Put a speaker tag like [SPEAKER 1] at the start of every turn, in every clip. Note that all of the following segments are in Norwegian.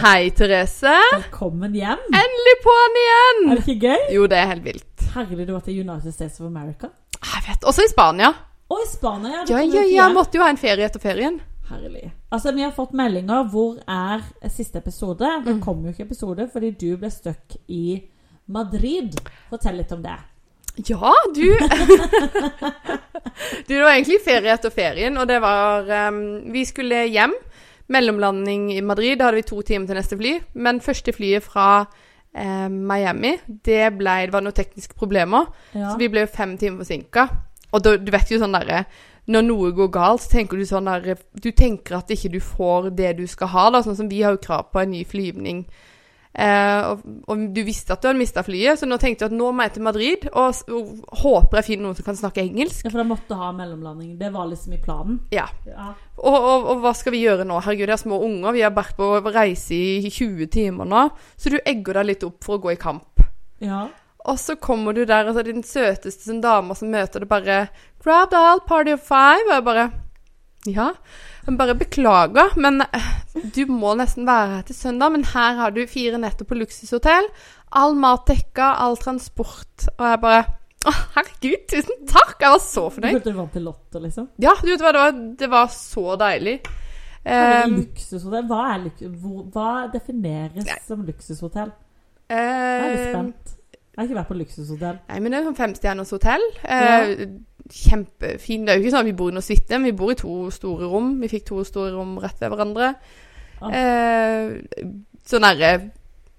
[SPEAKER 1] Hei, Therese.
[SPEAKER 2] Velkommen hjem!
[SPEAKER 1] Endelig på'n igjen!
[SPEAKER 2] Er det ikke gøy?
[SPEAKER 1] Jo, det er helt vilt.
[SPEAKER 2] Herlig du var til United States of America.
[SPEAKER 1] Jeg vet, Også i Spania.
[SPEAKER 2] Og i Spania! Ja, det
[SPEAKER 1] Ja,
[SPEAKER 2] kommer
[SPEAKER 1] ja,
[SPEAKER 2] jo
[SPEAKER 1] ja,
[SPEAKER 2] ikke hjem.
[SPEAKER 1] måtte jo ha en ferie etter ferien.
[SPEAKER 2] Herlig. Altså, vi har fått meldinger. Hvor er siste episode?
[SPEAKER 1] Mm.
[SPEAKER 2] Det kom jo ikke episode fordi du ble stuck i Madrid. Fortell litt om det.
[SPEAKER 1] Ja, du Du, det var egentlig ferie etter ferien, og det var ehm, Vi skulle hjem. Mellomlanding i Madrid. Da hadde vi to timer til neste fly. Men første flyet fra eh, Miami, det, ble, det var noen tekniske problemer.
[SPEAKER 2] Ja.
[SPEAKER 1] Så vi ble jo fem timer forsinka. Og da, du vet jo sånn derre Når noe går galt, så tenker du sånn derre Du tenker at ikke du får det du skal ha, da. Sånn som vi har jo krav på en ny flyvning. Eh, og, og du visste at du hadde mista flyet, så nå tenkte du at nå må jeg til Madrid og, s- og håper jeg finner noen som kan snakke engelsk.
[SPEAKER 2] ja, for da måtte du ha mellomlanding. Det var liksom i planen.
[SPEAKER 1] Ja.
[SPEAKER 2] Ja.
[SPEAKER 1] Og, og, og hva skal vi gjøre nå? Herregud, det er små unger. Vi har vært på reise i 20 timer nå. Så du egger deg litt opp for å gå i kamp.
[SPEAKER 2] ja.
[SPEAKER 1] Og så kommer du der, og så er det den søteste sånn dama som møter det bare 'Grab the whole party of five', og jeg bare Ja. Jeg bare beklager, men eh, du må nesten være her til søndag. Men her har du fire netter på luksushotell. All mat dekka, all transport. Og jeg bare Å, herregud, tusen takk! Jeg var så
[SPEAKER 2] Du
[SPEAKER 1] fornøyd.
[SPEAKER 2] følte du vant til Lotto, liksom?
[SPEAKER 1] Ja, du vet hva, det var, det var så deilig.
[SPEAKER 2] Um,
[SPEAKER 1] Um,
[SPEAKER 2] luksushotell. Hva, er luk hvor, hva defineres som luksushotell? Jeg er litt spent. Jeg har ikke vært på luksushotell.
[SPEAKER 1] Nei, men det er sånn femstjerners hotell. Eh, Kjempefin. Det er jo ikke sånn at vi bor i noe suite, men vi bor i to store rom. Vi fikk to store rom rett ved hverandre.
[SPEAKER 2] Ah.
[SPEAKER 1] Eh, sånn derre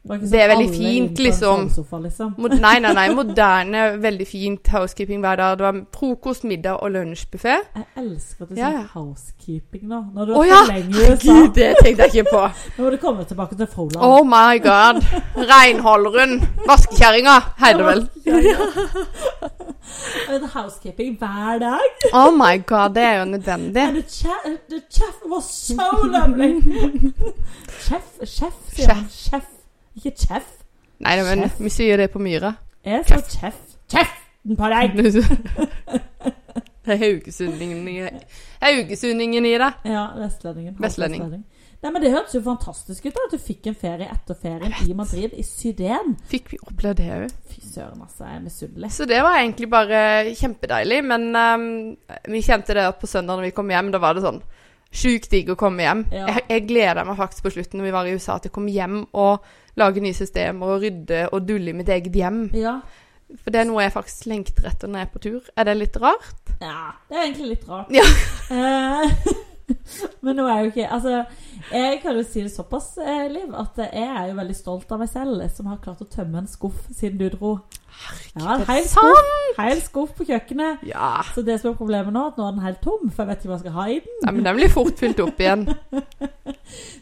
[SPEAKER 2] var ikke
[SPEAKER 1] Det er
[SPEAKER 2] sånn
[SPEAKER 1] veldig
[SPEAKER 2] alle
[SPEAKER 1] fint,
[SPEAKER 2] inn på en
[SPEAKER 1] liksom.
[SPEAKER 2] sovesofa, liksom.
[SPEAKER 1] mod- Nei, nei, nei. Moderne, veldig fint housekeeping hver dag. Det var frokost, middag og lunsjbuffé.
[SPEAKER 2] Jeg elsker at du
[SPEAKER 1] Ja,
[SPEAKER 2] sier
[SPEAKER 1] ja.
[SPEAKER 2] housekeeping nå. Når du
[SPEAKER 1] Å
[SPEAKER 2] har
[SPEAKER 1] ja!
[SPEAKER 2] vært lenge i USA.
[SPEAKER 1] Gud, det tenkte jeg ikke på.
[SPEAKER 2] Nå må du komme tilbake til Froland.
[SPEAKER 1] Oh my god. Reinholderen. Vaskekjerringa, heter det vel.
[SPEAKER 2] Ja, ja. Men housekeeping hver dag.
[SPEAKER 1] Oh my god, det er jo nødvendig.
[SPEAKER 2] And the, chef, the chef was so lovely. Chef, chef, sier han. Chef. Ikke chef.
[SPEAKER 1] Nei, nei, men
[SPEAKER 2] Chef.
[SPEAKER 1] vi sier det på Myra.
[SPEAKER 2] Jeg sa chef. Kjeften på deg!
[SPEAKER 1] Det er haugesundingen i- Haugesundingen i deg.
[SPEAKER 2] Ja, vestlendingen. Han er
[SPEAKER 1] Vestlending.
[SPEAKER 2] Nei, men Det hørtes jo fantastisk ut da, at du fikk en ferie etter ferien i Madrid, i Syden.
[SPEAKER 1] Fikk vi opplevd det òg?
[SPEAKER 2] Fy søren, altså. Jeg er misunnelig.
[SPEAKER 1] Så det var egentlig bare kjempedeilig. Men ehm, vi kjente det at på søndag når vi kom hjem, da var det sånn sjukt digg å komme hjem.
[SPEAKER 2] Ja.
[SPEAKER 1] Jeg, jeg gleda meg faktisk på slutten når vi var i USA, til å komme hjem og lage nye systemer og rydde og dulle i mitt eget hjem.
[SPEAKER 2] Ja.
[SPEAKER 1] For det er noe jeg faktisk lengter etter når jeg er på tur. Er det litt rart?
[SPEAKER 2] Ja, det er egentlig litt rart.
[SPEAKER 1] Ja.
[SPEAKER 2] Eh, men nå er jo ikke Altså, jeg kan jo si det såpass, eh, Liv, at jeg er jo veldig stolt av meg selv som har klart å tømme en skuff siden du dro. Ja, en
[SPEAKER 1] det
[SPEAKER 2] hel
[SPEAKER 1] er
[SPEAKER 2] skuff, hel skuff på kjøkkenet.
[SPEAKER 1] Sånn. Ja.
[SPEAKER 2] Så det som er problemet nå, er at nå er den helt tom, for jeg vet ikke hva jeg skal ha i den.
[SPEAKER 1] Nei, men den blir fort fylt opp igjen.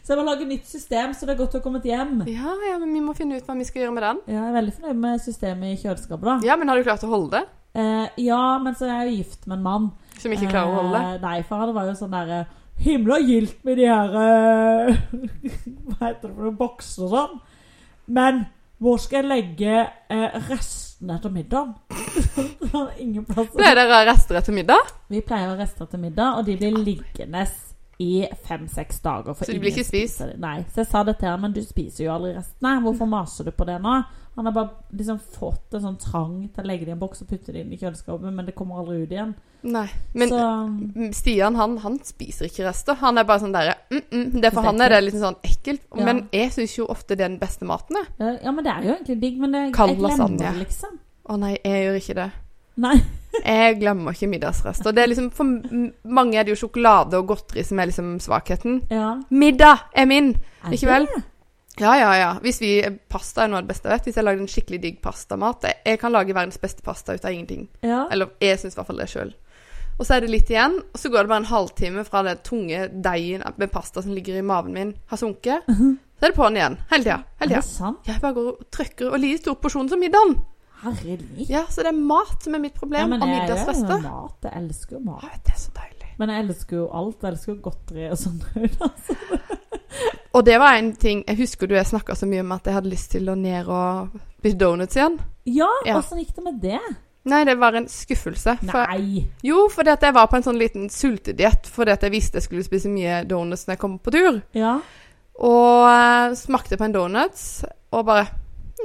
[SPEAKER 2] Så jeg må lage nytt system, så det er godt å ha kommet hjem.
[SPEAKER 1] Ja, ja, men vi må finne ut hva vi skal gjøre med den.
[SPEAKER 2] Ja, jeg er veldig fornøyd med systemet i kjøleskapet, da.
[SPEAKER 1] Ja, men har du klart å holde det?
[SPEAKER 2] Eh, ja, men så er jeg jo gift med en mann.
[SPEAKER 1] Som ikke klarer å holde det?
[SPEAKER 2] Eh, nei, for han var jo sånn derre Himla gildt med de her eh, Hva heter det for noen bokser og sånn. Men hvor skal jeg legge eh, restene etter middagen? Det var Ingen plass.
[SPEAKER 1] Ble dere rester etter middag?
[SPEAKER 2] Vi pleier å ha rester til middag, og de blir liggende i fem-seks dager. for
[SPEAKER 1] Så de
[SPEAKER 2] ingen
[SPEAKER 1] blir ikke spist?
[SPEAKER 2] spiser de. Nei. Så jeg sa det til ham, men du spiser jo aldri restene. Hvorfor maser du på det nå? Han har bare liksom fått en sånn trang til å legge det i en boks og putte det inn i kjøleskapet, men det kommer aldri ut igjen.
[SPEAKER 1] Nei. Men
[SPEAKER 2] Så-
[SPEAKER 1] Stian han, han spiser ikke rester. Han er bare sånn derre mm, mm. Det er For han er det litt sånn ekkelt.
[SPEAKER 2] Ja.
[SPEAKER 1] Men jeg syns jo ofte det er den beste maten. jeg.
[SPEAKER 2] Ja, ja, men det er jo egentlig digg, men det,
[SPEAKER 1] Kald
[SPEAKER 2] jeg glemmer
[SPEAKER 1] lasagne.
[SPEAKER 2] det liksom.
[SPEAKER 1] Å nei, jeg gjør ikke det.
[SPEAKER 2] Nei.
[SPEAKER 1] Jeg glemmer ikke middagsrester. Det er liksom, for m- mange er det jo sjokolade og godteri som er liksom svakheten.
[SPEAKER 2] Ja.
[SPEAKER 1] Middag er min!
[SPEAKER 2] Er
[SPEAKER 1] Ikke vel? Ja, ja, ja. Hvis vi, eh, pasta er noe av det beste jeg vet. Hvis jeg lager en skikkelig digg pastamat jeg, jeg kan lage verdens beste pasta ut av ingenting.
[SPEAKER 2] det? Ja.
[SPEAKER 1] Eller jeg syns i hvert fall det sjøl. Og så er det litt igjen, og så går det bare en halvtime fra den tunge deigen med pasta som ligger i maven min, har sunket.
[SPEAKER 2] Mhm.
[SPEAKER 1] Så er det på'n igjen. Hele tida.
[SPEAKER 2] Er
[SPEAKER 1] Hele
[SPEAKER 2] det
[SPEAKER 1] tida.
[SPEAKER 2] sant?
[SPEAKER 1] Jeg bare går og trykker og liker stor porsjon som middagen.
[SPEAKER 2] Herregud.
[SPEAKER 1] Ja, så det er mat som er mitt problem, og
[SPEAKER 2] jeg er jo
[SPEAKER 1] middagsrester.
[SPEAKER 2] mat. Jeg elsker jo mat.
[SPEAKER 1] Å, Det er så deilig.
[SPEAKER 2] Men jeg elsker jo alt. Jeg elsker jo godteri og sånn. altså.
[SPEAKER 1] Og det var en ting Jeg husker du jeg snakka så mye om at jeg hadde lyst til å ned og bli donuts igjen.
[SPEAKER 2] Ja,
[SPEAKER 1] Ja.
[SPEAKER 2] åssen gikk det med det?
[SPEAKER 1] Nei, det var en skuffelse. For,
[SPEAKER 2] Nei.
[SPEAKER 1] jo, fordi at jeg var på en sånn liten sultediett fordi at jeg visste jeg skulle spise mye donuts når jeg kom på tur.
[SPEAKER 2] Ja.
[SPEAKER 1] Og eh, smakte på en donuts og bare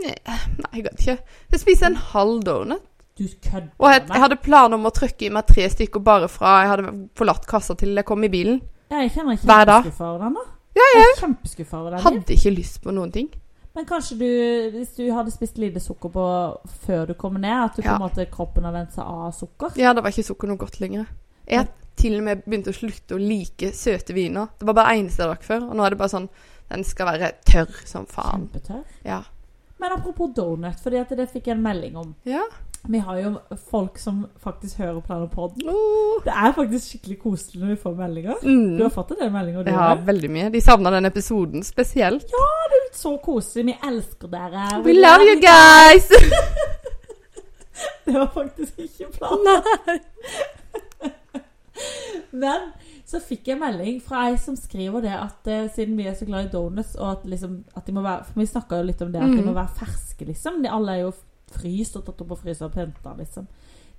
[SPEAKER 1] Nei, nei, jeg gadd ikke. Jeg spiste en halv donut.
[SPEAKER 2] Du kødder
[SPEAKER 1] Og jeg, jeg hadde planer om å trykke i meg tre stykker bare fra jeg hadde forlatt kassa til jeg kom i bilen.
[SPEAKER 2] Ja, jeg kjenner
[SPEAKER 1] Hver dag.
[SPEAKER 2] kjempeskuffa over den, da. Jeg er kjempeskuffa over den. Liv.
[SPEAKER 1] Hadde ikke lyst på noen ting.
[SPEAKER 2] Men kanskje du, hvis du hadde spist lite sukker på før du kom ned, at du på
[SPEAKER 1] Ja.
[SPEAKER 2] en måte kroppen har vent seg av sukker?
[SPEAKER 1] Ja, det var ikke sukker noe godt lenger. Jeg til og med begynte å slutte å like søte viner. Det var bare eneste jeg drakk før. Og nå er det bare sånn Den skal være tørr som faen.
[SPEAKER 2] Kjempetørr.
[SPEAKER 1] Ja.
[SPEAKER 2] Men apropos donut, fordi at det fikk jeg en melding om.
[SPEAKER 1] Ja.
[SPEAKER 2] Vi har jo folk som faktisk hører Planer podden.
[SPEAKER 1] Oh.
[SPEAKER 2] Det er faktisk skikkelig koselig når vi får meldinger. Du
[SPEAKER 1] Mm.
[SPEAKER 2] har fått en del meldinger, du
[SPEAKER 1] Ja,
[SPEAKER 2] òg.
[SPEAKER 1] veldig mye. De savna den episoden spesielt.
[SPEAKER 2] Så koselig. Vi elsker dere.
[SPEAKER 1] We love you guys!
[SPEAKER 2] Det var faktisk ikke planen. Men så fikk jeg melding fra ei som skriver det at eh, siden vi er så glad i donuts og at, liksom, at de må være For vi snakka jo litt om det at de
[SPEAKER 1] Mhm.
[SPEAKER 2] må være ferske, liksom. De alle er jo fryst og tatt opp og fryst og pynta, liksom.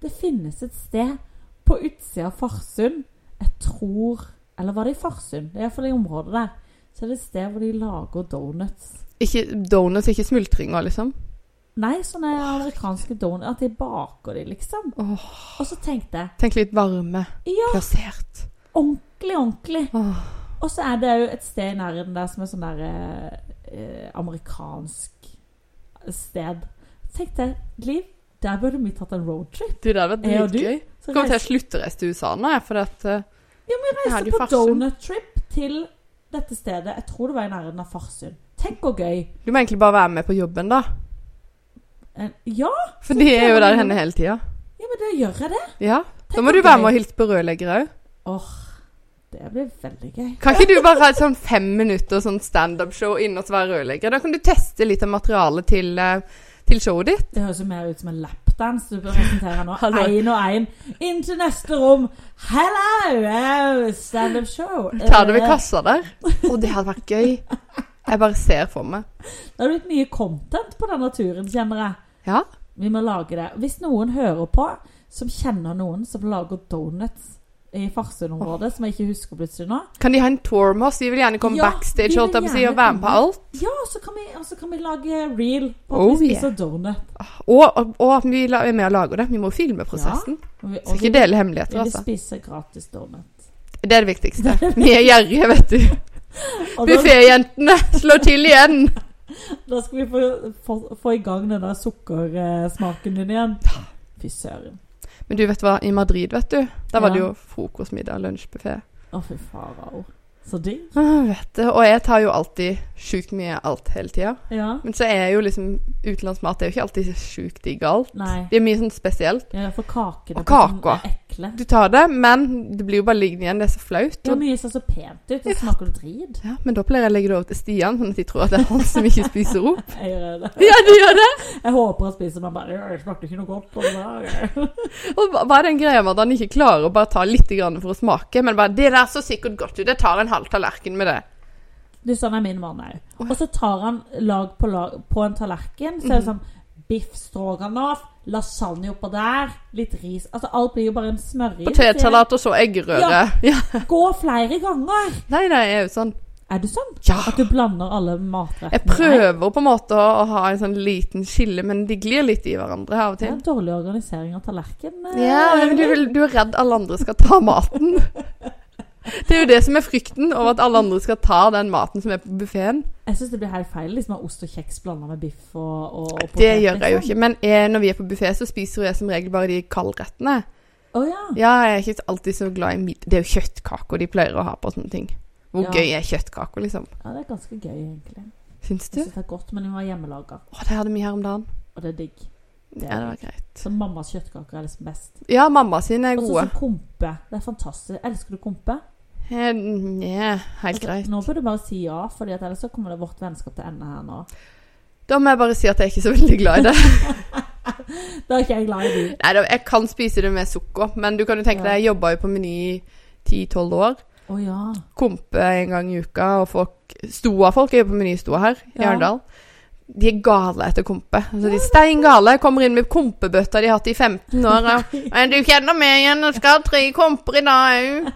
[SPEAKER 2] Det finnes et sted på utsida av Farsund Jeg tror Eller var det i Farsund? Det er iallfall i området der. Så er det et sted hvor de lager donuts.
[SPEAKER 1] Ikke donuts, ikke smultringer, liksom.
[SPEAKER 2] Nei, sånne amerikanske donuts. At de baker de, liksom.
[SPEAKER 1] Åh,
[SPEAKER 2] Og så tenkte jeg
[SPEAKER 1] tenk litt varme.
[SPEAKER 2] Ja.
[SPEAKER 1] Plassert.
[SPEAKER 2] Ordentlig, ordentlig.
[SPEAKER 1] Åh.
[SPEAKER 2] Og så er det jo et sted i nærheten der som er sånn der eh, eh, amerikansk sted. Tenkte jeg, Liv, der burde vi tatt en roadtrip.
[SPEAKER 1] Du, det hadde vært
[SPEAKER 2] Ja, og du?
[SPEAKER 1] dritgøy.
[SPEAKER 2] Så
[SPEAKER 1] Kommer til å
[SPEAKER 2] reise,
[SPEAKER 1] sluttreise til USA nå, jeg, for at eh, jeg hadde
[SPEAKER 2] reise
[SPEAKER 1] jo
[SPEAKER 2] på
[SPEAKER 1] Farsund.
[SPEAKER 2] donut-trip til dette stedet. Jeg tror det var i nærheten av Farsund. Tenk hvor gøy.
[SPEAKER 1] Du må egentlig bare være med på jobben, da.
[SPEAKER 2] En- Eh, Ja,
[SPEAKER 1] For de er jo der henne hele tida.
[SPEAKER 2] ja, men da gjør jeg det.
[SPEAKER 1] Ja. Da
[SPEAKER 2] Tenk
[SPEAKER 1] må
[SPEAKER 2] hvor
[SPEAKER 1] du være
[SPEAKER 2] gøy.
[SPEAKER 1] med og hilse på rødleggere òg.
[SPEAKER 2] Åh, det blir veldig gøy.
[SPEAKER 1] Kan ikke du bare ha et sånn fem minutter sånn standup-show inne og så være rødlegger? Da kan du teste litt av materialet til, eh, til showet ditt.
[SPEAKER 2] Det høres jo mer ut som en lapdans du presenterer nå.
[SPEAKER 1] Hallo.
[SPEAKER 2] Én og én inn til neste rom. Hello! eh, Standup show.
[SPEAKER 1] Tar det ved
[SPEAKER 2] Eh,
[SPEAKER 1] kassa der. Å, det hadde vært gøy. Jeg bare ser for meg.
[SPEAKER 2] Det har blitt mye content på denne turen, kjenner jeg.
[SPEAKER 1] Ja.
[SPEAKER 2] Vi må lage det. Hvis noen hører på, som kjenner noen som lager donuts i Farsund-området, som jeg ikke husker plutselig nå,
[SPEAKER 1] Kan de ha en tour med oss? De vil gjerne komme
[SPEAKER 2] Ja,
[SPEAKER 1] backstage
[SPEAKER 2] de vil
[SPEAKER 1] holdt jeg på å si,
[SPEAKER 2] gjerne
[SPEAKER 1] og være med på
[SPEAKER 2] komme.
[SPEAKER 1] alt.
[SPEAKER 2] ja, så kan vi, og så kan vi lage reel på at
[SPEAKER 1] Oh,
[SPEAKER 2] vi spiser donut.
[SPEAKER 1] Og, og, og at vi la- er med og lager det. Vi må jo filme prosessen.
[SPEAKER 2] Og vi,
[SPEAKER 1] Skal
[SPEAKER 2] og vi,
[SPEAKER 1] ikke dele hemmeligheter,
[SPEAKER 2] vi vil
[SPEAKER 1] altså.
[SPEAKER 2] spise gratis donut.
[SPEAKER 1] Det er det viktigste. Vi er gjerrige, vet du.
[SPEAKER 2] Og da,
[SPEAKER 1] Bufféjentene slår til igjen.
[SPEAKER 2] da skal vi få, få, få i gang den der sukkersmaken din igjen. Fy søren.
[SPEAKER 1] Men du vet hva, i Madrid, vet du, der var
[SPEAKER 2] Ja.
[SPEAKER 1] det jo frokost, middag, lunsjbuffé.
[SPEAKER 2] Å, fy farao. Så digg.
[SPEAKER 1] Ah, vet du. Og jeg tar jo alltid sjukt mye alt hele tida.
[SPEAKER 2] Ja.
[SPEAKER 1] Men så er jo liksom utenlandsmat det er jo ikke alltid sjukt digg alt.
[SPEAKER 2] Nei.
[SPEAKER 1] Det er mye sånn spesielt.
[SPEAKER 2] Ja, for kakene
[SPEAKER 1] Og
[SPEAKER 2] på sånn
[SPEAKER 1] kaka.
[SPEAKER 2] er ekle.
[SPEAKER 1] Du tar det, men det blir jo bare liggende igjen. Det er så flaut.
[SPEAKER 2] Ja,
[SPEAKER 1] Og,
[SPEAKER 2] mye ser så pent ut. Det smaker jo drit.
[SPEAKER 1] ja, men da pleier jeg å legge det over til Stian, sånn at de tror at det er han som ikke spiser opp.
[SPEAKER 2] Jeg gjør det.
[SPEAKER 1] Ja, du gjør det!
[SPEAKER 2] Jeg håper han spiser, men bare «Øh, Det smakte ikke noe godt. på det der».
[SPEAKER 1] Og hva- hva er den greia med at han ikke klarer å bare ta litt grann for å smake, men bare 'Det der så sikkert godt ut. Jeg tar en halv tallerken med det.'
[SPEAKER 2] Du, sånn er min mann òg. Og så tar han lag på lag på en tallerken. Så er det sånn biff stroganoff, lasagne oppå der, litt ris Altså alt blir jo bare en smørje.
[SPEAKER 1] Potetsalat og så eggerøre. Ja.
[SPEAKER 2] Gå flere ganger!
[SPEAKER 1] Nei, nei, jeg er jo sånn
[SPEAKER 2] Er du sånn?
[SPEAKER 1] Ja!
[SPEAKER 2] At du blander alle
[SPEAKER 1] Jeg
[SPEAKER 2] matrettene?
[SPEAKER 1] prøver på en måte å, å ha en sånn liten skille, men de glir litt i hverandre av og
[SPEAKER 2] Det er
[SPEAKER 1] til.
[SPEAKER 2] en dårlig organisering av tallerken. eh,
[SPEAKER 1] Ja, men du, vil- du er redd alle andre skal ta maten. Det er jo det som er frykten, over at alle andre skal ta den maten som er på buffeen.
[SPEAKER 2] Jeg syns det blir helt feil liksom å ha ost og kjeks blanda med biff og, og, og
[SPEAKER 1] Det
[SPEAKER 2] potet,
[SPEAKER 1] gjør jeg jo
[SPEAKER 2] liksom.
[SPEAKER 1] ikke. Men jeg, når vi er på buffé, så spiser jo jeg som regel bare de kaldrettene.
[SPEAKER 2] Å ja.
[SPEAKER 1] Ja, jeg er ikke alltid så glad i mid... Det er jo kjøttkaker de pleier å ha på sånne ting. Hvor
[SPEAKER 2] Ja.
[SPEAKER 1] gøy er kjøttkaker, liksom?
[SPEAKER 2] ja. Det er ganske gøy, egentlig.
[SPEAKER 1] Syns du?
[SPEAKER 2] Jeg synes det er godt, men vi var hjemmelaga,
[SPEAKER 1] Å, det hadde vi her om dagen.
[SPEAKER 2] og det er digg.
[SPEAKER 1] Ja, det var greit.
[SPEAKER 2] Så mammas kjøttkaker er liksom best.
[SPEAKER 1] Ja, mamma sine er
[SPEAKER 2] Og
[SPEAKER 1] gode.
[SPEAKER 2] så kompe. Det er fantastisk. Elsker du kompe? Altså,
[SPEAKER 1] Eh, Nja, helt greit.
[SPEAKER 2] Nå bør du bare si ja, for ellers så kommer det vårt vennskap til ende her nå.
[SPEAKER 1] Da må jeg bare si at jeg er ikke så veldig glad i det.
[SPEAKER 2] Da er ikke jeg glad i de.
[SPEAKER 1] Nei, da, jeg kan spise det med sukker, men du kan jo tenke
[SPEAKER 2] Ja.
[SPEAKER 1] deg, jeg jobba jo på Meny i 10-12 år.
[SPEAKER 2] Å ja.
[SPEAKER 1] Kompe en gang i uka, og folk Stoa folk er jo på Meny Stoa her i
[SPEAKER 2] Ja.
[SPEAKER 1] Arendal. De er gale etter kompe. Altså, de er steingale. Kommer inn med kompebøtta de har hatt i 15 år. Og, «Men 'Du kjenner meg igjen, jeg skal ha tre komper i dag òg.'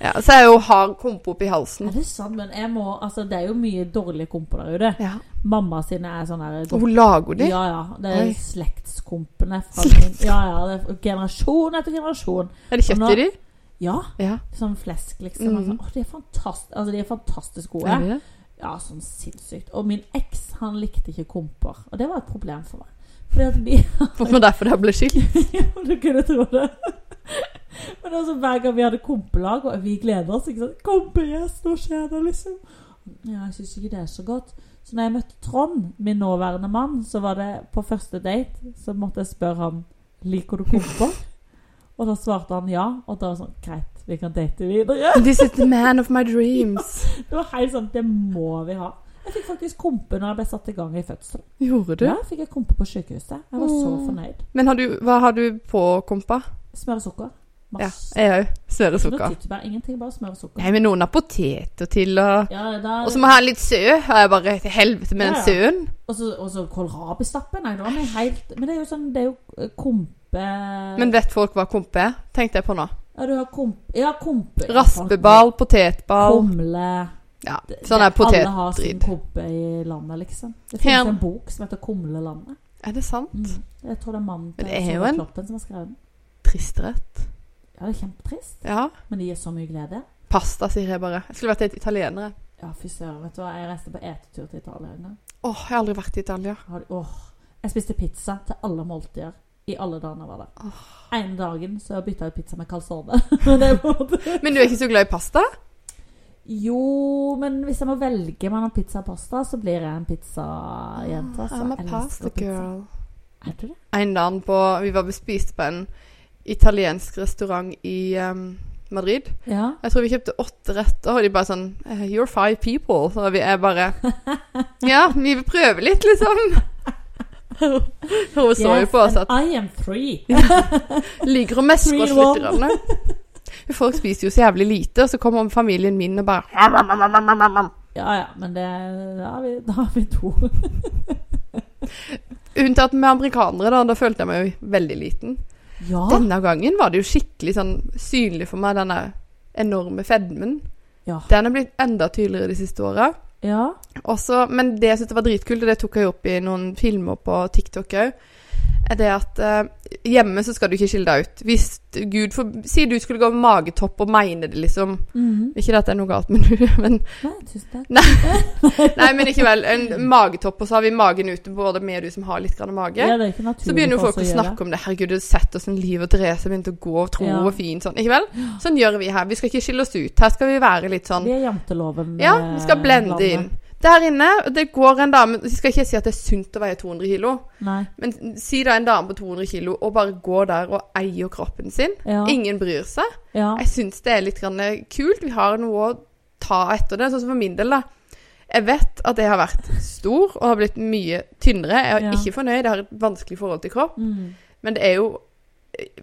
[SPEAKER 1] Ja, så er jeg jo hard kompe opp i halsen.
[SPEAKER 2] Er det sant? Men jeg må, altså, det er jo mye dårlige komper der ute.
[SPEAKER 1] Ja.
[SPEAKER 2] Mamma sine er sånn her
[SPEAKER 1] Og hun lager de.
[SPEAKER 2] Ja, ja. Det er
[SPEAKER 1] Oi.
[SPEAKER 2] slektskompene. Fra min, ja, ja. Det er generasjon etter generasjon.
[SPEAKER 1] Er det kjøtt i de?
[SPEAKER 2] Ja.
[SPEAKER 1] Ja.
[SPEAKER 2] Sånn flesk, liksom. Altså,
[SPEAKER 1] Mhm.
[SPEAKER 2] å, de, er fantast, altså, de er fantastisk gode.
[SPEAKER 1] Er det det?
[SPEAKER 2] Ja, sånn sinnssykt. Og min eks, han likte ikke komper. Og det var et problem for meg. Fordi at vi
[SPEAKER 1] Det var derfor det ble skilt.
[SPEAKER 2] Ja, men du kunne tro det. Men altså, hver gang vi hadde kompelag, og vi gleder oss ikke sant? Kompegjest, nå skjer det, liksom. Ja, jeg syns ikke det er så godt. Så når jeg møtte Trond, min nåværende mann, så var det på første date, så måtte jeg spørre ham liker du komper. Og da svarte han ja, og da var det sånn Greit, vi kan date videre.
[SPEAKER 1] This is the man of my dreams.
[SPEAKER 2] Det var helt sånn Det må vi ha. Jeg fikk faktisk kompe når jeg ble satt i gang i fødsel.
[SPEAKER 1] Gjorde du? Mm.
[SPEAKER 2] Ja, fikk jeg kompe på sykehuset. Jeg var så
[SPEAKER 1] Åh.
[SPEAKER 2] fornøyd.
[SPEAKER 1] Men har du, hva har du på kompa?
[SPEAKER 2] Smør og sukker.
[SPEAKER 1] Ja,
[SPEAKER 2] Masse.
[SPEAKER 1] jeg òg. Søre
[SPEAKER 2] Ikke
[SPEAKER 1] sukker.
[SPEAKER 2] noe tyttebær, ingenting, bare smør og sukker.
[SPEAKER 1] Nei, men noen har poteter til og
[SPEAKER 2] Ja, da,
[SPEAKER 1] Og så må jeg ha litt sø. Og jeg bare Til helvete med den
[SPEAKER 2] Ja, ja.
[SPEAKER 1] søen.
[SPEAKER 2] og så- og så kålrabistappe. Nei, det var noe helt Men det er jo sånn Det er jo eh, kompe
[SPEAKER 1] Men vet folk hva kompe er? Tenkte jeg på nå.
[SPEAKER 2] Ja, du har kompe Ja, kompe. ja,
[SPEAKER 1] Raspeball, potetball
[SPEAKER 2] Kumle
[SPEAKER 1] Ja,
[SPEAKER 2] Det-
[SPEAKER 1] sånn er
[SPEAKER 2] det- Alle har sin
[SPEAKER 1] potetdritt.
[SPEAKER 2] kompe i landet, liksom. Det
[SPEAKER 1] Her-
[SPEAKER 2] finnes en bok som heter 'Kumlelandet'.
[SPEAKER 1] Er det sant?
[SPEAKER 2] Mm. Jeg tror det er mannen til
[SPEAKER 1] Men det er jo
[SPEAKER 2] Snorre
[SPEAKER 1] en-
[SPEAKER 2] Kloppen som har skrevet den.
[SPEAKER 1] Tristrett.
[SPEAKER 2] Ja, det er kjempetrist,
[SPEAKER 1] Ja.
[SPEAKER 2] men det gir så mye glede.
[SPEAKER 1] Pasta, sier jeg bare. Jeg skulle vært et italiener. jeg.
[SPEAKER 2] Ja, fy søren, vet du hva. Jeg reiste på etetur til Italia en gang.
[SPEAKER 1] Åh, jeg har aldri vært i Italia.
[SPEAKER 2] Har- Åh, jeg spiste pizza til alle måltider i alle dagene jeg var der.
[SPEAKER 1] Åh.
[SPEAKER 2] En dagen så bytta jeg pizza med calzone. Men det er på en måte-
[SPEAKER 1] Men du er ikke så glad i pasta?
[SPEAKER 2] jo, men hvis jeg må velge mellom pizza og pasta, så blir jeg en pizzajente. altså.
[SPEAKER 1] Ah, I'm a
[SPEAKER 2] Jeg elsker
[SPEAKER 1] pasta
[SPEAKER 2] pizza.
[SPEAKER 1] girl.
[SPEAKER 2] Er du det?
[SPEAKER 1] En dag på Vi var bespist på en italiensk restaurant i um, Madrid.
[SPEAKER 2] Ja.
[SPEAKER 1] Jeg tror vi kjøpte åtte retter, og de bare sånn eh, You're five people. Så vi er bare Ja, vi vil prøve litt, liksom. Hun så jo
[SPEAKER 2] Yes,
[SPEAKER 1] på oss
[SPEAKER 2] and
[SPEAKER 1] at
[SPEAKER 2] I am free.
[SPEAKER 1] Ligger og mesker oss
[SPEAKER 2] Three
[SPEAKER 1] litt. Grann. Men Folk spiser jo så jævlig lite, og så kommer familien min og bare
[SPEAKER 2] Ja ja, men det Da har vi, da har vi to.
[SPEAKER 1] Unntatt med amerikanere, da. Da følte jeg meg jo veldig liten.
[SPEAKER 2] Ja.
[SPEAKER 1] Denne gangen var det jo skikkelig sånn synlig for meg, denne enorme fedmen.
[SPEAKER 2] Ja.
[SPEAKER 1] Den er blitt enda tydeligere de siste åra.
[SPEAKER 2] ja.
[SPEAKER 1] Også, men det jeg syntes var dritkult, og det tok jeg opp i noen filmer på TikTok òg, er det at eh, hjemme så skal du ikke skille deg ut. Hvis du- Gud for, Si du skulle gå med magetopp og mene det, liksom.
[SPEAKER 2] Mhm.
[SPEAKER 1] Ikke at det er noe galt med du, men
[SPEAKER 2] Nei, tusen takk.
[SPEAKER 1] Nei, men ikke vel. En magetopp, og så har vi magen ute, både vi og du som har litt grann mage.
[SPEAKER 2] Ja, det er ikke naturlig
[SPEAKER 1] Så begynner jo
[SPEAKER 2] for oss
[SPEAKER 1] folk å
[SPEAKER 2] gjøre.
[SPEAKER 1] snakke om det. 'Herregud, har du sett åssen Liv og Therese begynte å gå og tro
[SPEAKER 2] Ja.
[SPEAKER 1] og fint sånn.' Ikke vel? Sånn gjør vi her. Vi skal ikke skille oss ut. Her skal vi være litt sånn
[SPEAKER 2] Vi er janteloven.
[SPEAKER 1] Ja,
[SPEAKER 2] eh,
[SPEAKER 1] vi skal blende
[SPEAKER 2] landet.
[SPEAKER 1] inn. Der inne det går en dame Jeg skal ikke si at det er sunt å veie 200 kilo,
[SPEAKER 2] Nei.
[SPEAKER 1] men si da en dame på 200 kilo og bare går der og eier kroppen sin.
[SPEAKER 2] Ja.
[SPEAKER 1] Ingen bryr seg.
[SPEAKER 2] ja.
[SPEAKER 1] Jeg syns det er litt grann eh, kult. Vi har noe å ta etter det. Sånn som for min del, da. Jeg vet at jeg har vært stor og har blitt mye tynnere. Jeg er
[SPEAKER 2] Ja.
[SPEAKER 1] ikke fornøyd, jeg har et vanskelig forhold til kropp.
[SPEAKER 2] Mm.
[SPEAKER 1] Men det er jo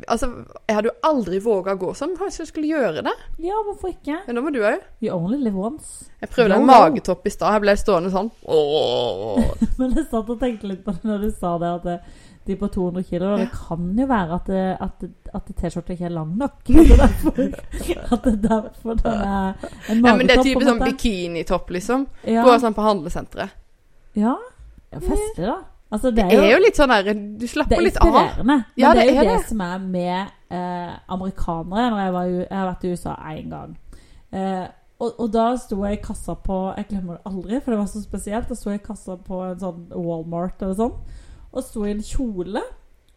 [SPEAKER 1] Altså, jeg hadde jo aldri våga å gå sånn. Kanskje jeg skulle gjøre det?
[SPEAKER 2] Ja, hvorfor ikke?
[SPEAKER 1] Men da må du òg.
[SPEAKER 2] You only live once.
[SPEAKER 1] Jeg prøvde en
[SPEAKER 2] Wow, wow.
[SPEAKER 1] magetopp i stad. Jeg ble stående sånn. Åh.
[SPEAKER 2] Men jeg satt og tenkte litt på det når du sa det, at det, de på 200 kilo og Det kan jo være at, det, at, det- at T-skjorta ikke er lang nok. At det er derfor, at det er derfor den er en magetopp.
[SPEAKER 1] Ja, men det er type
[SPEAKER 2] på en
[SPEAKER 1] sånn
[SPEAKER 2] måte.
[SPEAKER 1] bikinitopp, liksom. Gå
[SPEAKER 2] ja.
[SPEAKER 1] sånn på handlesenteret.
[SPEAKER 2] ja. ja, festlig, da. Altså, det
[SPEAKER 1] Det
[SPEAKER 2] er jo,
[SPEAKER 1] er jo litt sånn der Du
[SPEAKER 2] det
[SPEAKER 1] slapper
[SPEAKER 2] er
[SPEAKER 1] litt av.
[SPEAKER 2] inspirerende. Men
[SPEAKER 1] Ja,
[SPEAKER 2] det er
[SPEAKER 1] det
[SPEAKER 2] jo
[SPEAKER 1] er
[SPEAKER 2] det,
[SPEAKER 1] det.
[SPEAKER 2] som er med eh, amerikanere. Når jeg, var, i- jeg har vært i USA én gang. Eh, og, og da sto jeg i kassa på Jeg glemmer det aldri, for det var så spesielt. Da sto jeg i kassa på en sånn Walmart eller sånn, og sto i en kjole.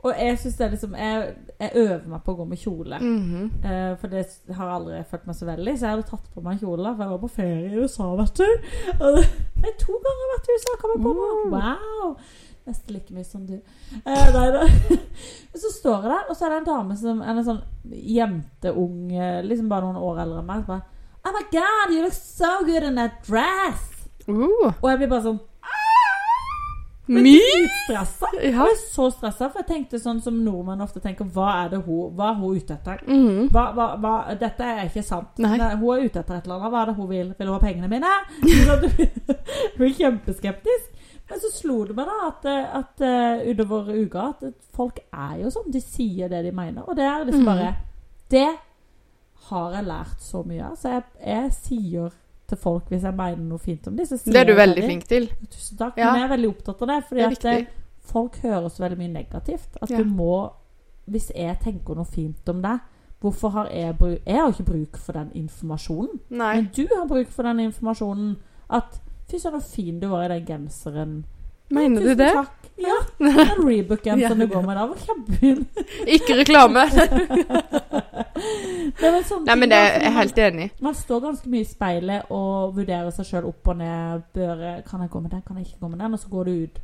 [SPEAKER 2] Og jeg synes det er liksom jeg, jeg øver meg på å gå med kjole.
[SPEAKER 1] Mhm.
[SPEAKER 2] Eh, for det har jeg aldri følt meg så veldig, så jeg hadde tatt på meg en kjole. For jeg var på ferie i USA, vet du. Og det, nei, to ganger har jeg vært i USA, kan jeg på meg. Wow! Nesten like mye som du. Eh, nei da. Men så står jeg der, og så er det en dame som en sånn jenteung, eh, liksom bare noen år eldre enn meg, som bare Oh my God, you look so good in that dress!
[SPEAKER 1] Uh,
[SPEAKER 2] Og jeg blir bare sånn
[SPEAKER 1] me?
[SPEAKER 2] stressa. Jeg
[SPEAKER 1] Ja.
[SPEAKER 2] ble så stressa, for jeg tenkte sånn som nordmenn ofte tenker, hva er det hun, hva er hun ute etter?
[SPEAKER 1] Mhm.
[SPEAKER 2] hva, hva, hva, dette er ikke sant.
[SPEAKER 1] Nei.
[SPEAKER 2] hun er ute etter et eller annet. Hva er det hun vil? Vil hun ha pengene mine? Hun er kjempeskeptisk. Men så slo det meg da at, eh, at eh, utover uka
[SPEAKER 1] Mhm.
[SPEAKER 2] at folk er jo sånn. De sier det de mener. Og det er liksom bare Det har jeg lært så mye av. Så jeg, jeg sier til folk hvis jeg mener noe fint om dem, så sier
[SPEAKER 1] Det er du
[SPEAKER 2] jeg
[SPEAKER 1] veldig
[SPEAKER 2] til dem,
[SPEAKER 1] flink til.
[SPEAKER 2] Tusen takk.
[SPEAKER 1] Ja.
[SPEAKER 2] Men jeg er veldig opptatt av det. Fordi
[SPEAKER 1] Det er
[SPEAKER 2] at eh, det,
[SPEAKER 1] viktig.
[SPEAKER 2] folk hører så veldig mye negativt. At
[SPEAKER 1] Ja.
[SPEAKER 2] du må Hvis jeg tenker noe fint om deg Hvorfor har jeg bruk Jeg har ikke bruk for den informasjonen.
[SPEAKER 1] Nei.
[SPEAKER 2] Men du har bruk for den informasjonen. At Fy søren, så fin du var i den genseren.
[SPEAKER 1] Mener du
[SPEAKER 2] Tusen
[SPEAKER 1] det?
[SPEAKER 2] Takk. Ja. Den Rebook-genseren
[SPEAKER 1] Ja.
[SPEAKER 2] du går med, da var kjempefin.
[SPEAKER 1] Ikke reklame.
[SPEAKER 2] Det er vel sånne
[SPEAKER 1] Nei,
[SPEAKER 2] ting,
[SPEAKER 1] men
[SPEAKER 2] da,
[SPEAKER 1] det
[SPEAKER 2] som
[SPEAKER 1] er jeg
[SPEAKER 2] man-
[SPEAKER 1] helt enig. i.
[SPEAKER 2] Man står ganske mye i speilet og vurderer seg sjøl opp og ned. Bør, kan jeg gå med den, kan jeg ikke gå med den? Og så går du ut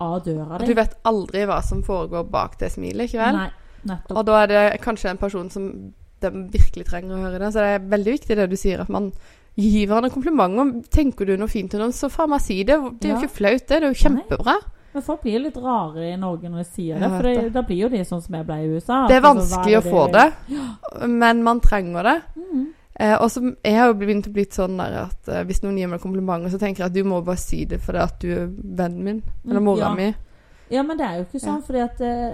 [SPEAKER 2] av døra
[SPEAKER 1] Og Du vet aldri hva som foregår bak det smilet, ikke vel?
[SPEAKER 2] Nei, nettopp.
[SPEAKER 1] Og da er det kanskje en person som de virkelig trenger å høre det. Så det er veldig viktig det du sier, at man gir hverandre komplimenter. Tenker du noe fint til noen, så faen meg si det. Det er jo
[SPEAKER 2] Ja.
[SPEAKER 1] ikke flaut, det. Det er jo kjempebra.
[SPEAKER 2] Men folk blir litt rarere i Norge når de sier det.
[SPEAKER 1] Jeg vet
[SPEAKER 2] For det,
[SPEAKER 1] det.
[SPEAKER 2] da blir jo de sånn som jeg ble i USA.
[SPEAKER 1] Det er
[SPEAKER 2] Altså, hva
[SPEAKER 1] vanskelig å få det, men man trenger det.
[SPEAKER 2] Mhm.
[SPEAKER 1] Eh, og så jeg har jo begynt å bli sånn der at eh, hvis noen gir meg komplimenter, så tenker jeg at du må bare si det fordi at du er vennen min, eller
[SPEAKER 2] Mm,
[SPEAKER 1] mora
[SPEAKER 2] ja.
[SPEAKER 1] mi.
[SPEAKER 2] Ja, men det er jo ikke sånn, fordi at eh,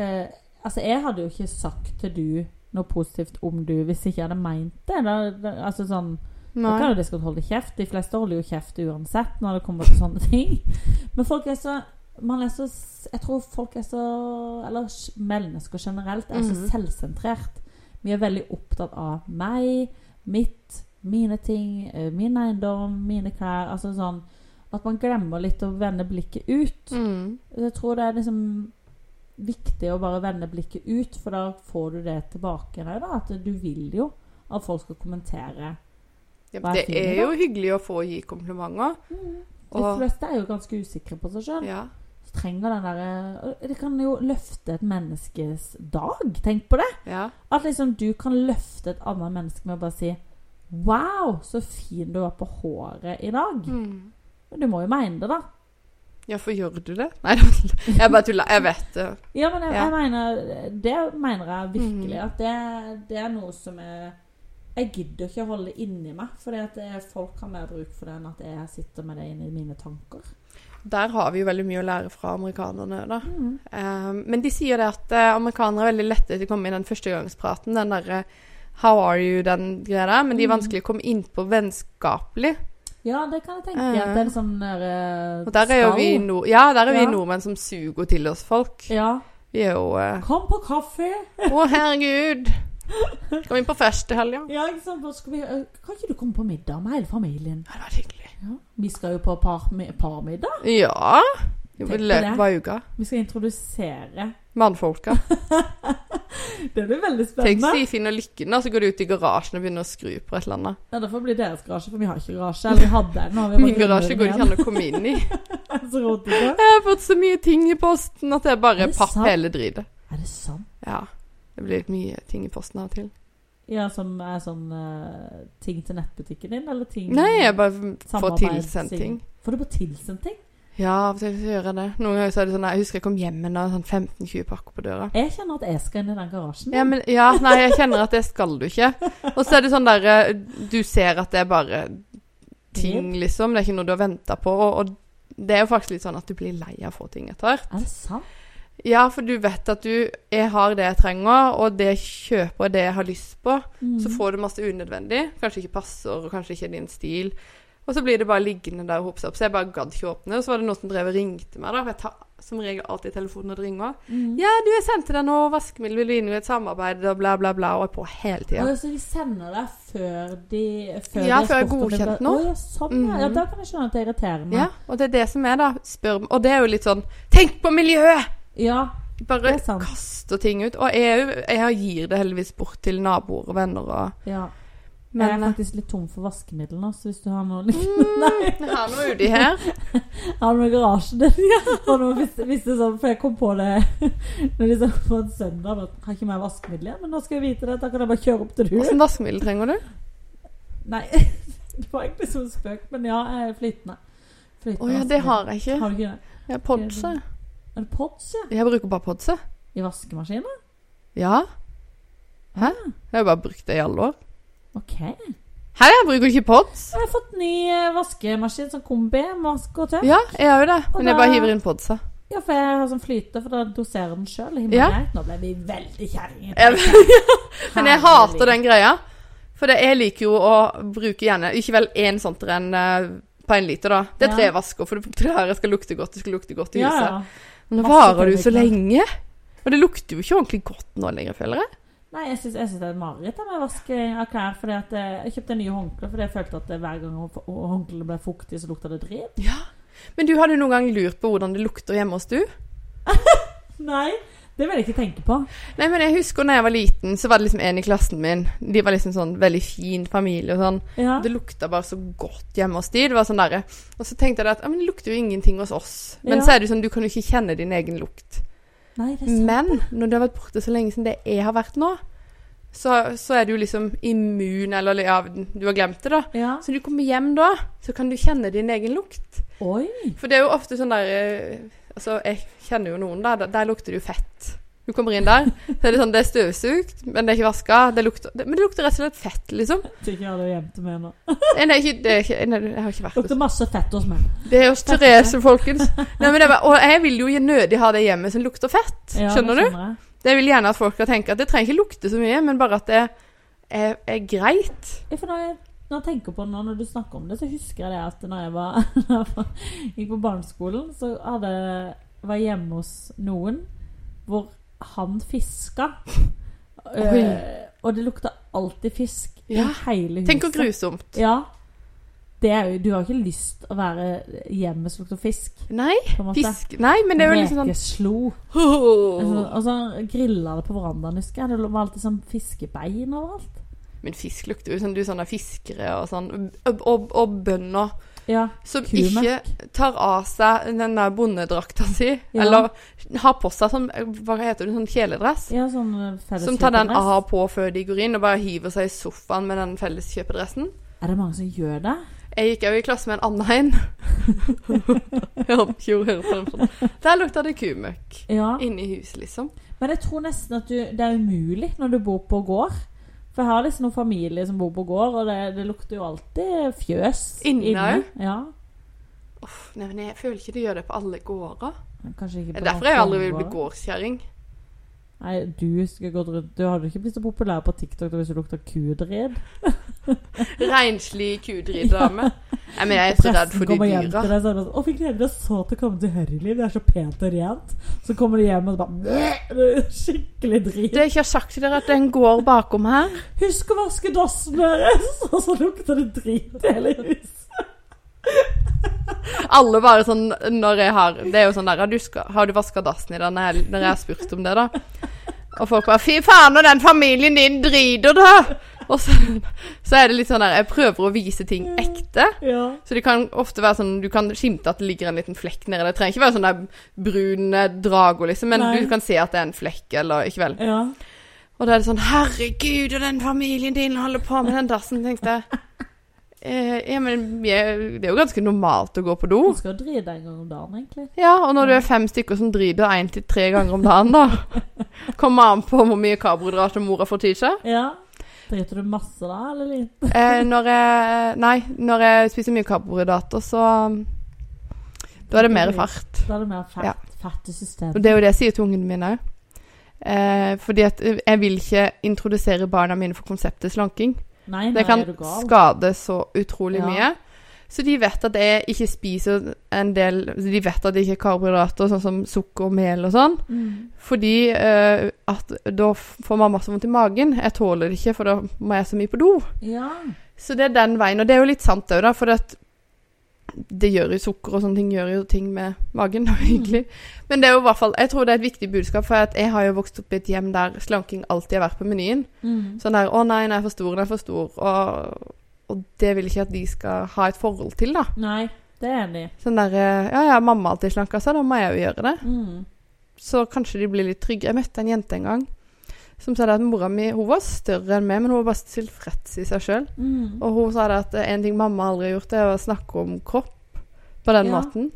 [SPEAKER 2] eh, Altså, jeg hadde jo ikke sagt til du noe positivt om du hvis ikke jeg hadde meint det. Da, da, altså sånn Da
[SPEAKER 1] Nei.
[SPEAKER 2] kan jo de skal holde kjeft. De fleste holder jo kjeft uansett når det kommer til sånne ting. Men folk er så man er så, Jeg tror folk er så Eller s- mennesker generelt er så
[SPEAKER 1] Mhm.
[SPEAKER 2] selvsentrert. Vi er veldig opptatt av meg, mitt, mine ting, eh, min eiendom, mine klær. Altså sånn At man glemmer litt å vende blikket ut.
[SPEAKER 1] Mm.
[SPEAKER 2] Jeg tror det er liksom viktig å bare vende blikket ut, for da får du det tilbake. her Da, at du vil jo at folk skal kommentere.
[SPEAKER 1] Ja,
[SPEAKER 2] Hva er
[SPEAKER 1] det
[SPEAKER 2] fint,
[SPEAKER 1] er
[SPEAKER 2] da? Mm,
[SPEAKER 1] jo hyggelig å få gi komplimenter.
[SPEAKER 2] De
[SPEAKER 1] Og,
[SPEAKER 2] fleste er jo ganske usikre på seg sjøl.
[SPEAKER 1] ja.
[SPEAKER 2] Trenger den derre og Det kan jo løfte et menneskes dag. Tenk på det!
[SPEAKER 1] Ja.
[SPEAKER 2] At liksom du kan løfte et annet menneske med å bare si Wow, så fin du var på håret i dag.
[SPEAKER 1] Mm.
[SPEAKER 2] Men Du må jo mene det, da.
[SPEAKER 1] ja, for gjør du det? Nei, det var- jeg bare tuller. Jeg vet eh, det.
[SPEAKER 2] Ja, men jeg,
[SPEAKER 1] Ja.
[SPEAKER 2] jeg mener Det mener jeg virkelig.
[SPEAKER 1] Mhm.
[SPEAKER 2] At det, det er noe som jeg Jeg gidder ikke å holde inni meg. For folk har mer bruk for det enn at jeg sitter med det inni mine tanker.
[SPEAKER 1] Der har vi jo veldig mye å lære fra amerikanerne. da. Um, men de sier det at eh, amerikanere er veldig lette til å komme i den førstegangspraten. Den derre How are you? den greia der. Men de er
[SPEAKER 2] Mm.
[SPEAKER 1] vanskelig å komme innpå vennskapelig.
[SPEAKER 2] Ja, det kan jeg tenke.
[SPEAKER 1] Ja.
[SPEAKER 2] At det er en sånn der,
[SPEAKER 1] Og der er jo vi, nord ja, der er vi
[SPEAKER 2] Ja.
[SPEAKER 1] nordmenn som suger til oss folk.
[SPEAKER 2] Ja.
[SPEAKER 1] Vi er jo eh,
[SPEAKER 2] Kom på kaffe!
[SPEAKER 1] Å, herregud! Skal vi på fest i helga?
[SPEAKER 2] Ja, ikke sant? Hva Skal vi, øh, kan ikke du komme på middag med hele familien?
[SPEAKER 1] Ja, det var hyggelig.
[SPEAKER 2] Ja. Vi skal jo på par, parmiddag.
[SPEAKER 1] Ja. Jo,
[SPEAKER 2] Tenk på
[SPEAKER 1] I
[SPEAKER 2] det.
[SPEAKER 1] løpet av uka.
[SPEAKER 2] Vi skal introdusere.
[SPEAKER 1] Mannfolka.
[SPEAKER 2] Det blir veldig
[SPEAKER 1] Tenk
[SPEAKER 2] spennende.
[SPEAKER 1] så de finner lykken, og så går de ut i garasjen og begynner å skru på et eller annet.
[SPEAKER 2] Ja, Derfor blir deres garasje, for vi har ikke garasje. Eller vi hadde en. og vi
[SPEAKER 1] Min
[SPEAKER 2] bare glemmer
[SPEAKER 1] garasje
[SPEAKER 2] den
[SPEAKER 1] går det ikke
[SPEAKER 2] igjen.
[SPEAKER 1] an å komme inn i.
[SPEAKER 2] Så rotet det.
[SPEAKER 1] Jeg har fått så mye ting i posten at jeg bare
[SPEAKER 2] Er det
[SPEAKER 1] papper
[SPEAKER 2] sant?
[SPEAKER 1] hele dritet.
[SPEAKER 2] Er det sant?
[SPEAKER 1] Ja. Det blir mye ting i posten av og til.
[SPEAKER 2] Ja, som er sånn eh, ting til nettbutikken din, eller ting
[SPEAKER 1] Nei, jeg bare får
[SPEAKER 2] samarbeids-
[SPEAKER 1] tilsendt ting.
[SPEAKER 2] Får du bare tilsendt ting?
[SPEAKER 1] Ja, av og til så gjør jeg det. Noen ganger så er det sånn Jeg husker jeg kom hjem med en sånn 15-20 pakker på døra.
[SPEAKER 2] Jeg kjenner at jeg skal inn i den garasjen.
[SPEAKER 1] Ja, men ja, nei, jeg kjenner at det skal du ikke. Og så er det sånn derre Du ser at det er bare ting, liksom. Det er ikke noe du har venta på. Og, og det er jo faktisk litt sånn at du blir lei av å få ting etter hvert.
[SPEAKER 2] Er det sant?
[SPEAKER 1] Ja, for du vet at du Jeg har det jeg trenger, og det jeg kjøper, det jeg har lyst på.
[SPEAKER 2] Mm.
[SPEAKER 1] Så får du masse unødvendig. Kanskje ikke passer, og kanskje ikke er din stil. Og så blir det bare liggende der og hope seg opp. Så jeg bare gadd ikke åpne. Og så var det noen som drev og ringte meg, da. For jeg tar som regel alltid telefonen når det ringer.
[SPEAKER 2] Mm.
[SPEAKER 1] Ja, du, jeg sendte deg noe vaskemiddel, vil du inn i et samarbeid, og bla, bla, bla. Og jeg er på hele tida.
[SPEAKER 2] Å, så de sender deg før de før de har
[SPEAKER 1] Ja, før jeg har
[SPEAKER 2] spurt om det
[SPEAKER 1] godkjent
[SPEAKER 2] blir-
[SPEAKER 1] noe.
[SPEAKER 2] Å, ja, sånn, ja. ja.
[SPEAKER 1] Mhm.
[SPEAKER 2] Da kan jeg skjønne at det irriterer meg.
[SPEAKER 1] Ja, og det er det som er, da. Spør, og det er jo litt sånn Tenk på miljøet!
[SPEAKER 2] Ja,
[SPEAKER 1] Bare
[SPEAKER 2] det er sant.
[SPEAKER 1] kaster ting ut. Og jeg, er jo- jeg gir det heldigvis bort til naboer og venner og
[SPEAKER 2] Ja. jeg
[SPEAKER 1] Men
[SPEAKER 2] er
[SPEAKER 1] eh, Mm.
[SPEAKER 2] faktisk litt tom for vaskemiddel nå, så hvis du har noe litt
[SPEAKER 1] jeg har noe uti her.
[SPEAKER 2] Har du noe i garasjen din? Og nå visste, visste sånn, for jeg kom på det når de sa på en søndag at Har ikke mer vaskemiddel igjen, men nå skal jeg vite det. Da kan jeg bare kjøre opp til du.
[SPEAKER 1] Åssen vaskemiddel trenger du?
[SPEAKER 2] Nei, det var egentlig som en spøk, men ja, jeg er flytende.
[SPEAKER 1] Å ja, det har jeg ikke.
[SPEAKER 2] Har du ikke det?
[SPEAKER 1] Jeg har Podse.
[SPEAKER 2] Er det pods, ja?
[SPEAKER 1] Jeg bruker bare Podse.
[SPEAKER 2] I vaskemaskinen?
[SPEAKER 1] Ja. Hæ? Jeg har jo bare brukt det i alle år.
[SPEAKER 2] OK. Jeg
[SPEAKER 1] Hæ, jeg bruker ikke Pods?
[SPEAKER 2] har fått ny eh, vaskemaskin, sånn kombi, med vask og tørk.
[SPEAKER 1] Ja, jeg har jo det.
[SPEAKER 2] Og
[SPEAKER 1] Men jeg bare
[SPEAKER 2] da-
[SPEAKER 1] hiver inn Podse.
[SPEAKER 2] Ja, for jeg har sånn flyte, for da doserer den sjøl.
[SPEAKER 1] Ja.
[SPEAKER 2] Nå ble vi veldig
[SPEAKER 1] Ja,
[SPEAKER 2] kjerringer.
[SPEAKER 1] men- Men jeg hater den greia. For det, jeg liker jo å bruke gjerne ikke vel én sånn til en eh, på en liter, da. Det er
[SPEAKER 2] Ja.
[SPEAKER 1] tre vasker, for det her skal lukte godt. Det skal lukte godt i
[SPEAKER 2] Ja,
[SPEAKER 1] huset.
[SPEAKER 2] ja.
[SPEAKER 1] Men nå
[SPEAKER 2] Masse
[SPEAKER 1] varer det jo så
[SPEAKER 2] produkter.
[SPEAKER 1] lenge. Og det lukter jo ikke ordentlig godt nå lenger, føler jeg.
[SPEAKER 2] Nei, jeg syns, jeg syns det er et mareritt jeg, med vasking av klær. Fordi at eh, Jeg kjøpte nye håndklær fordi jeg følte at eh, hver gang hå- håndkleet ble fuktig, så lukta det dritt.
[SPEAKER 1] Men du hadde jo noen gang lurt på hvordan det lukter hjemme hos du?
[SPEAKER 2] Nei, det vil jeg ikke tenke på.
[SPEAKER 1] Nei, men jeg husker når jeg var liten, så var det liksom en i klassen min. De var liksom sånn veldig fin familie og sånn.
[SPEAKER 2] Ja.
[SPEAKER 1] Det lukta bare så godt hjemme hos de. Det var sånn derre. Og så tenkte jeg at ja, men det lukter jo ingenting hos oss. Men
[SPEAKER 2] Ja.
[SPEAKER 1] så er det jo sånn, du kan jo ikke kjenne din egen lukt.
[SPEAKER 2] Nei, det er sant.
[SPEAKER 1] Men når det har vært borte så lenge som det jeg har vært nå, så, så er du jo liksom immun, eller ja, du har glemt det, da.
[SPEAKER 2] Ja.
[SPEAKER 1] Så når du kommer hjem da, så kan du kjenne din egen lukt.
[SPEAKER 2] Oi.
[SPEAKER 1] For det er jo ofte sånn der eh, Altså, jeg kjenner jo noen der, der- der lukter det jo fett. Du kommer inn der, så er det sånn, det er støvsugd, men det er ikke vaska. Det lukter, det, men det lukter rett og slett fett, liksom.
[SPEAKER 2] Tenker jeg hadde gjemt det med nå.
[SPEAKER 1] Nei, det er ikke, det er ikke, nei, jeg har ikke vært hos
[SPEAKER 2] Lukter masse fett hos meg.
[SPEAKER 1] Det er hos Therese, folkens. Nei, men det er, bare- og jeg vil jo nødig ha det hjemmet som lukter fett.
[SPEAKER 2] Ja, det
[SPEAKER 1] Skjønner du?
[SPEAKER 2] jeg.
[SPEAKER 1] Det vil gjerne at folk skal tenke at det trenger ikke lukte så mye, men bare at det er, er greit.
[SPEAKER 2] Ja, for når jeg, når jeg tenker på det nå, når du snakker om det, så husker jeg det at når jeg var, når jeg var- gikk på barneskolen, så hadde, var jeg hjemme hos noen hvor han fiska. Eh, og det lukta alltid fisk
[SPEAKER 1] Ja.
[SPEAKER 2] i hele huset.
[SPEAKER 1] Tenk hvor grusomt.
[SPEAKER 2] Ja. Det er jo, du har ikke lyst å være hjemme som lukter fisk.
[SPEAKER 1] Nei,
[SPEAKER 2] på en måte.
[SPEAKER 1] fisk Nei, men det er jo liksom sånn
[SPEAKER 2] Rekeslo.
[SPEAKER 1] Ho!
[SPEAKER 2] Og så grilla det på verandaen, husker jeg. Det var alltid sånn fiskebein overalt.
[SPEAKER 1] Men fisk lukter jo sånn, du er sånne fiskere og sånn, og, og, og bønder
[SPEAKER 2] Ja.
[SPEAKER 1] som
[SPEAKER 2] Kumelk.
[SPEAKER 1] ikke tar av seg den der bondedrakta si,
[SPEAKER 2] Ja.
[SPEAKER 1] eller har på seg sånn, hva heter det, sånn kjeledress.
[SPEAKER 2] ja sånn felles
[SPEAKER 1] Som tar den
[SPEAKER 2] kjøpedress.
[SPEAKER 1] av på før de går inn, og bare hiver seg i sofaen med den felleskjøpedressen.
[SPEAKER 2] Er det mange som gjør det?
[SPEAKER 1] Jeg gikk òg i klasse med en annen en. Hør- jo, hør på den sånn. Der lukta det kumøkk.
[SPEAKER 2] Ja.
[SPEAKER 1] Inne i huset, liksom.
[SPEAKER 2] Men jeg tror nesten at du, det er umulig når du bor på gård. For jeg har liksom noen familie som bor på gård, og det, det lukter jo alltid fjøs
[SPEAKER 1] Inne òg?
[SPEAKER 2] Ja.
[SPEAKER 1] Uff, nei, men jeg føler ikke det gjør det på alle gårder.
[SPEAKER 2] Men Kanskje ikke på
[SPEAKER 1] Det er derfor jeg aldri vil bli
[SPEAKER 2] gård.
[SPEAKER 1] gårdskjerring.
[SPEAKER 2] Nei, du skulle gått rundt Du hadde ikke blitt så populær på TikTok da hvis du lukta kudridd.
[SPEAKER 1] Renslig kudriddame. Nei, men jeg er så redd for de
[SPEAKER 2] kommer hjem til
[SPEAKER 1] dyra.
[SPEAKER 2] deg og sier sånn 'Å, vi gleder oss så til å komme til Herreliv. Det er så pent og rent.' Så kommer du hjem og så bare Skikkelig drit.
[SPEAKER 1] Det jeg ikke har sagt til dere, at det er en gård bakom her.
[SPEAKER 2] 'Husk å vaske dassen deres!' Og så lukter det drit i hele huset.
[SPEAKER 1] Alle bare sånn når jeg har Det er jo sånn der Har du, ska- har du vaska dassen i dag? Når jeg, når jeg har spurt om det, da. Og folk bare Fy faen, og den familien din driter, da! Og så, så er det litt sånn der Jeg prøver å vise ting ekte.
[SPEAKER 2] Ja.
[SPEAKER 1] Så det kan ofte være sånn Du kan skimte at det ligger en liten flekk nedi. Det trenger ikke være sånn der brun eh, drago, liksom, men
[SPEAKER 2] Nei.
[SPEAKER 1] du kan se at det er en flekk, eller ikke vel.
[SPEAKER 2] Ja.
[SPEAKER 1] Og da er det sånn Herregud, og den familien din holder på med den dassen, tenkte jeg. Eh, ja, men vi er- det er jo ganske normalt å gå på do.
[SPEAKER 2] Hun skal jo drite en gang om dagen, egentlig.
[SPEAKER 1] Ja, og når du
[SPEAKER 2] Mm.
[SPEAKER 1] er fem stykker som driter én til tre ganger om dagen, da Kommer an på hvor mye karbohydrater mora får til seg.
[SPEAKER 2] Ja. Driter du masse da, eller lite?
[SPEAKER 1] Eh, når jeg Nei, når jeg spiser mye karbohydrater, så um, Da er det mer fart.
[SPEAKER 2] Da er det mer fett,
[SPEAKER 1] Ja.
[SPEAKER 2] fett i systemet.
[SPEAKER 1] Og det er jo det jeg sier til ungene mine òg. Eh, fordi at jeg vil ikke introdusere barna mine for konseptet slanking.
[SPEAKER 2] Nei,
[SPEAKER 1] Det
[SPEAKER 2] nei,
[SPEAKER 1] kan
[SPEAKER 2] er du gal?
[SPEAKER 1] skade så utrolig
[SPEAKER 2] Ja.
[SPEAKER 1] mye. Så de vet at jeg ikke spiser en del De vet at det ikke er karbohydrater, sånn som sukker og mel og sånn.
[SPEAKER 2] Mm.
[SPEAKER 1] Fordi eh, at da f- får mamma så vondt i magen. Jeg tåler det ikke, for da må jeg så mye på do.
[SPEAKER 2] Ja.
[SPEAKER 1] Så det er den veien. Og det er jo litt sant òg, da. For at det gjør jo sukker og sånne ting gjør jo ting med magen, egentlig. Men det er jo i hvert fall Jeg tror det er et viktig budskap, for at jeg har jo vokst opp i et hjem der slanking alltid har vært på menyen.
[SPEAKER 2] Mm.
[SPEAKER 1] Sånn der 'Å nei, den er for stor, den er for stor'. Og, og det vil ikke at de skal ha et forhold til, da.
[SPEAKER 2] Nei, det er jeg enig i.
[SPEAKER 1] Sånn der eh, 'Ja ja, mamma har alltid slanka seg, da må jeg jo gjøre det'
[SPEAKER 2] Mm.
[SPEAKER 1] så kanskje de blir litt trygge. Jeg møtte en jente en gang som sa det at mora mi hun var større enn meg, men hun var bare tilfreds i seg sjøl.
[SPEAKER 2] Mm.
[SPEAKER 1] Og hun sa det at en ting mamma aldri har gjort, det er å snakke om kropp på den
[SPEAKER 2] Ja.
[SPEAKER 1] måten.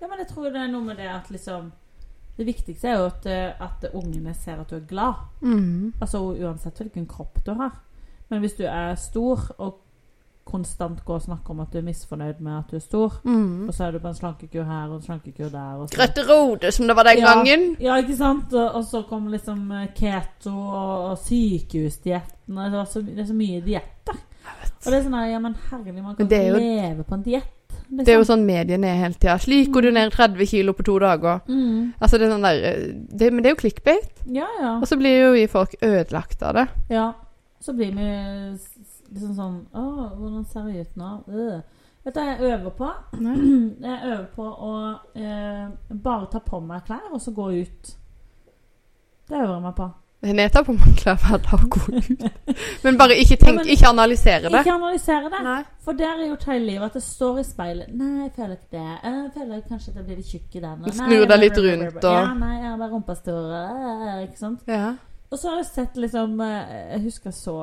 [SPEAKER 2] Ja, men jeg tror det er noe med det at liksom Det viktigste er jo at, eh, at ungene ser at du er glad. Mm. Altså uansett hvilken kropp du har. Men hvis du er stor og konstant gå og snakke om at du er misfornøyd med at du er stor.
[SPEAKER 1] Mm.
[SPEAKER 2] Og så er du på en slankekur her og en slankekur der. Og så.
[SPEAKER 1] Grøtte Rode, som det var den
[SPEAKER 2] Ja.
[SPEAKER 1] gangen.
[SPEAKER 2] Ja, ikke sant? Og og så kom liksom eh, keto og og sykehusdietten. og Det, var så- det er så mye dietter. Og det er sånn her, ja, men herlig, man kan
[SPEAKER 1] Men det er
[SPEAKER 2] ikke
[SPEAKER 1] jo-
[SPEAKER 2] leve på en diett. Liksom.
[SPEAKER 1] Det er jo sånn mediene er hele tida. Slik går du ned 30 kilo på to dager.
[SPEAKER 2] mm.
[SPEAKER 1] Altså, det er sånn der eh, det, Men det er jo clickbait.
[SPEAKER 2] Ja, ja.
[SPEAKER 1] Og så blir jo vi folk ødelagt av det.
[SPEAKER 2] Ja, så blir vi s- s- liksom sånn Å, hvordan ser jeg ut nå? Øh. Vet du hva jeg øver på? Jeg øver på å eh, bare ta på meg klær, og så gå ut. Det øver jeg meg på.
[SPEAKER 1] Henriette har på meg klær hver dag og går ut. Men bare ikke tenk,
[SPEAKER 2] Ja, men-
[SPEAKER 1] ikke analysere det.
[SPEAKER 2] Ikke analysere det.
[SPEAKER 1] Nei.
[SPEAKER 2] For der er jo hele livet at det står i speilet Nei, jeg føler ikke det. Eh, Jeg føler kanskje at jeg blir litt tjukk i den. og
[SPEAKER 1] Du
[SPEAKER 2] nei,
[SPEAKER 1] snur
[SPEAKER 2] jeg
[SPEAKER 1] deg
[SPEAKER 2] blir-
[SPEAKER 1] litt rundt, og-
[SPEAKER 2] Ja, nei, jeg har bare rumpa stor. eh, Ikke sant?
[SPEAKER 1] Ja.
[SPEAKER 2] Og så har jeg sett liksom eh, Jeg husker jeg så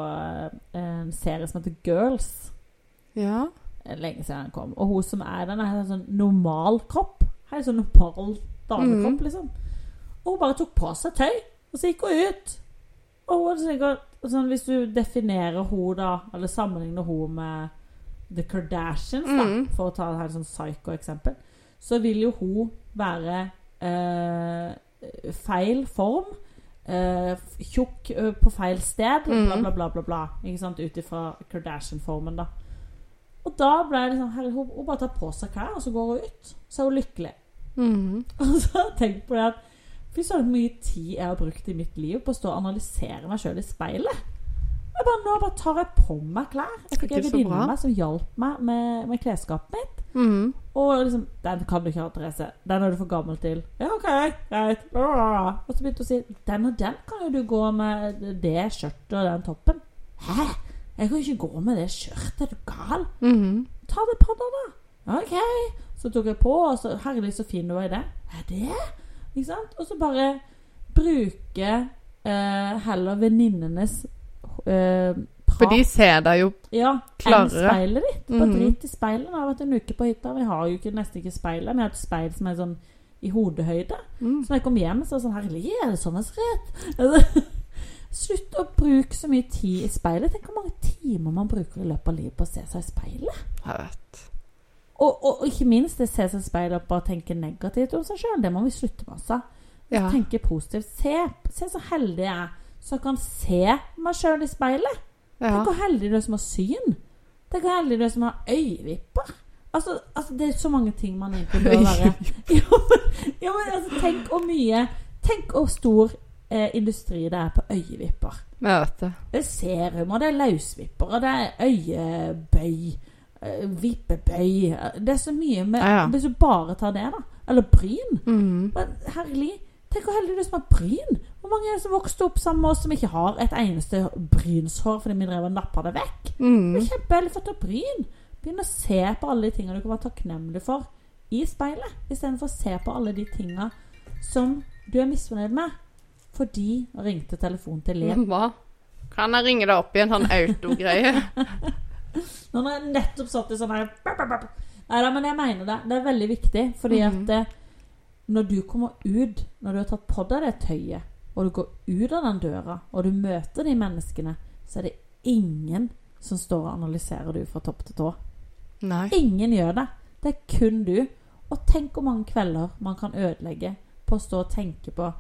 [SPEAKER 2] eh, en serie som heter Girls.
[SPEAKER 1] ja.
[SPEAKER 2] lenge siden han kom. Og hun som er den, har en sånn normal kropp. Har en sånn normal damekropp,
[SPEAKER 1] Mhm.
[SPEAKER 2] liksom. Og hun bare tok på seg tøy, og så gikk hun ut. Og hun er sikkert, sånn, Hvis du definerer hun da, eller sammenligner hun med The Kardashians, da,
[SPEAKER 1] Mhm.
[SPEAKER 2] for å ta et helt sånn psycho-eksempel, så vil jo hun være eh, feil form. eh, f- tjukk eh, på feil sted, bla,
[SPEAKER 1] Mhm.
[SPEAKER 2] bla, bla. bla, bla ikke sant? Ut ifra Kardashian-formen, da. Og da ble jeg liksom herre, hun, hun bare tar på seg klær, og så går hun ut. Så er hun lykkelig.
[SPEAKER 1] Mhm.
[SPEAKER 2] Og så har jeg tenkt på det at Fy søren, hvor mye tid jeg har brukt i mitt liv på å stå og analysere meg sjøl i speilet. Jeg bare, nå bare tar jeg på meg klær. Jeg fikk
[SPEAKER 1] Ikke
[SPEAKER 2] en
[SPEAKER 1] så
[SPEAKER 2] venninne
[SPEAKER 1] bra.
[SPEAKER 2] med meg som hjalp meg med, med klesskapet mitt.
[SPEAKER 1] Mhm.
[SPEAKER 2] Og liksom Den kan du ikke ha, Therese. Den er du for gammel til. Ja, OK, greit. Bla, bla, bla. Og så begynte hun å si Den og den kan jo du gå med det skjørtet og den toppen. Hæ? Jeg kan jo ikke gå med det skjørtet. Er du gal?
[SPEAKER 1] Mhm.
[SPEAKER 2] Ta det på deg, da. OK. Så tok jeg på, og så Herlig, så fin du var i det. Er det? Ikke sant? Og så bare bruke eh, heller venninnenes eh, prat
[SPEAKER 1] For de ser deg jo
[SPEAKER 2] ja, enn
[SPEAKER 1] klarere.
[SPEAKER 2] speilet ditt. Bare
[SPEAKER 1] Mhm.
[SPEAKER 2] drit i speilet. Jeg har vært en uke på hytta, og jeg har jo ikke, nesten ikke speilet. Men jeg har et speil som er sånn i hodehøyde.
[SPEAKER 1] Mhm.
[SPEAKER 2] Så når jeg kom hjem, så var det sånn Herlig, er det sånn jeg ser ut? Altså, Slutt å bruke så mye tid i speilet. Tenk hvor mange timer man bruker i løpet av livet på å se seg i speilet.
[SPEAKER 1] Jeg vet.
[SPEAKER 2] Og, og, og ikke minst det se seg i speilet og bare tenke negativt om seg sjøl. Det må vi slutte med. Altså.
[SPEAKER 1] Ja.
[SPEAKER 2] Tenke positivt. Se, se så heldig jeg er, så jeg kan se meg sjøl i speilet.
[SPEAKER 1] ja.
[SPEAKER 2] Tenk hvor heldig du er som har syn. Tenk hvor heldig du er som har øyevipper. Altså, altså, det er så mange ting man egentlig bør være ja, men, ja, men altså, Tenk hvor mye Tenk hvor stor eh, industri det er på øyevipper.
[SPEAKER 1] Jeg vet det.
[SPEAKER 2] Det er serum, og det er løsvipper, og det er øyebøy. eh, Vippebøy Det er så mye med
[SPEAKER 1] Ja, ja.
[SPEAKER 2] Hvis du bare tar det, da. Eller bryn.
[SPEAKER 1] Mhm.
[SPEAKER 2] Men herlig, tenk hvor heldig du er som har bryn. Hvor mange er det som vokste opp sammen med oss som ikke har et eneste brynshår fordi vi drev og nappa det vekk? Det
[SPEAKER 1] Mhm.
[SPEAKER 2] er kjempeheldig for å ta bryn. Begynn å se på alle de tingene du kan være takknemlig for i speilet, istedenfor å se på alle de tinga som du er misfornøyd med. Fordi ringte telefonen til Linn.
[SPEAKER 1] Hva? Kan jeg ringe deg opp i en sånn autogreie?
[SPEAKER 2] Nå har jeg nettopp satt i sånn her Nei da, men jeg mener det. Det er veldig viktig. Fordi at eh, når du kommer ut, når du har tatt på deg det tøyet, og du går ut av den døra, og du møter de menneskene, så er det ingen som står og analyserer du fra topp til tå.
[SPEAKER 1] Nei.
[SPEAKER 2] Ingen gjør det. Det er kun du. Og tenk hvor mange kvelder man kan ødelegge på å stå og tenke på